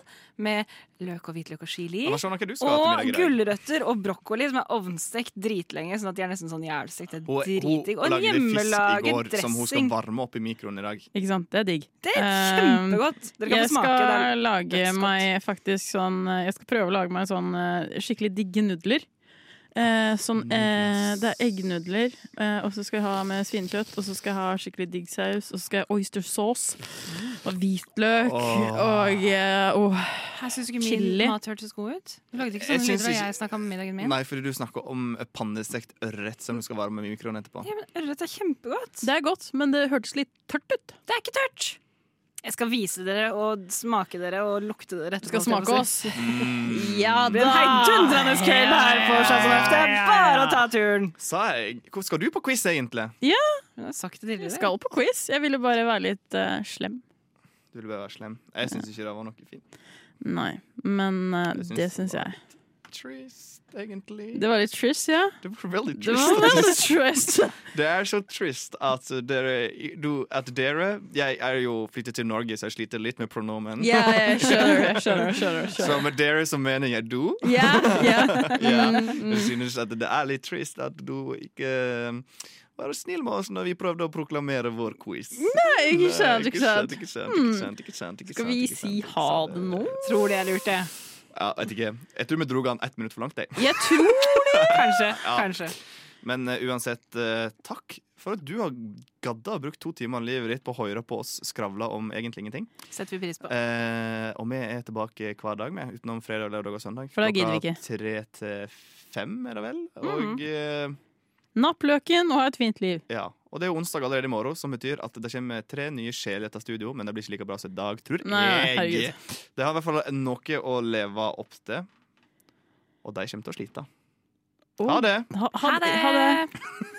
med løk og hvitløk og chili.
Anna, skjønner ikke du skal ha til
Og
middag i dag.
gulrøtter og brokkoli som er ovnstekt dritlenge, sånn at de er nesten sånn jævlstekt. Det
Hun,
er
hun
dritdigg. Og en
lagde fisk i
hjemmelaget
går som hun skal
dressing.
varme opp i mikroen i dag.
Ikke sant? Det er digg. Eh,
Det er kjempegodt. Dere kan
jeg
få smake. Det er
skal lage meg faktisk sånn Jeg skal prøve å lage meg sånn eh, skikkelig digge nudler. Eh, sånn, eh, det er eggnudler, eh, og så skal jeg ha med svinekjøtt. Og så skal jeg ha skikkelig digg saus, og så skal jeg ha oyster sauce. Og hvitløk. Og eh, åh,
Jeg syns ikke min
chili.
mat hørtes god ut. Du lagde ikke
Jeg
sånne
syns
lyder da
ikke-
jeg snakka om middagen min.
Nei, fordi du snakker om pannestekt ørret som du skal varme i mikroen etterpå.
Ja, men Ørret er kjempegodt.
Det er godt, men det hørtes litt tørt ut.
Det er ikke tørt. Jeg skal vise dere og smake dere og lukte dere.
Skal
etterpå, holdt
smake
jeg på å
oss.
Mm.
si.
Ja
Det er en heidundrende kveld her på Chateau Neuf. Det er bare å ta turen.
Sa jeg. Hvor skal du på quiz, egentlig?
Ja,
Hun har sagt det tidligere.
jeg skal på quiz. Jeg ville bare være litt eh, slem.
Du vil bare være slem. Jeg syns ikke det var noe fint.
Nei, men eh, det syns jeg.
Trist, egentlig.
Det var litt trist, ja.
Det var veldig
Det var veldig trist.
Det er så trist at dere, du, at dere Jeg er jo flyttet til Norge, så jeg sliter litt med pronomen.
Ja, jeg skjønner, jeg skjønner, jeg skjønner, jeg skjønner.
Så med dere så mener jeg du.
Ja, ja.
Ja.
Mm, mm.
Jeg synes at det er litt trist at du ikke um, var snill med oss når vi prøvde å proklamere vår quiz.
Nei, ikke sant,
Nei,
ikke sant.
Ikke sant, ikke
Mm.
sant, ikke sant, ikke
Skal
sant,
vi
ikke sant.
si ha det nå?
Tror de jeg lurte.
Ja, vet ikke. Jeg tror vi dro den ett minutt for langt. Jeg.
Jeg tror det!
Kanskje.
Ja.
kanskje.
Men eh, uansett, eh, takk for at du har gadda og brukt to timer av livet ditt på å høre på oss skravle om egentlig ingenting.
Setter vi pris på.
Eh, og vi er tilbake hver dag, med, utenom fredag, lørdag og søndag.
For da gidder vi Mm-hmm.
Klokka Tre til fem, er det vel? Og, eh,
Napp løken og ha et fint liv.
ja. og det er jo onsdag allerede i morgen, som betyr at det kommer tre nye sjeler til studio, men det blir ikke like bra som i dag, tror
Nei,
jeg. Det har i hvert fall noe å leve opp
Oh.
til, og de kommer til å slite. Ha det!
Ha, ha, ha det!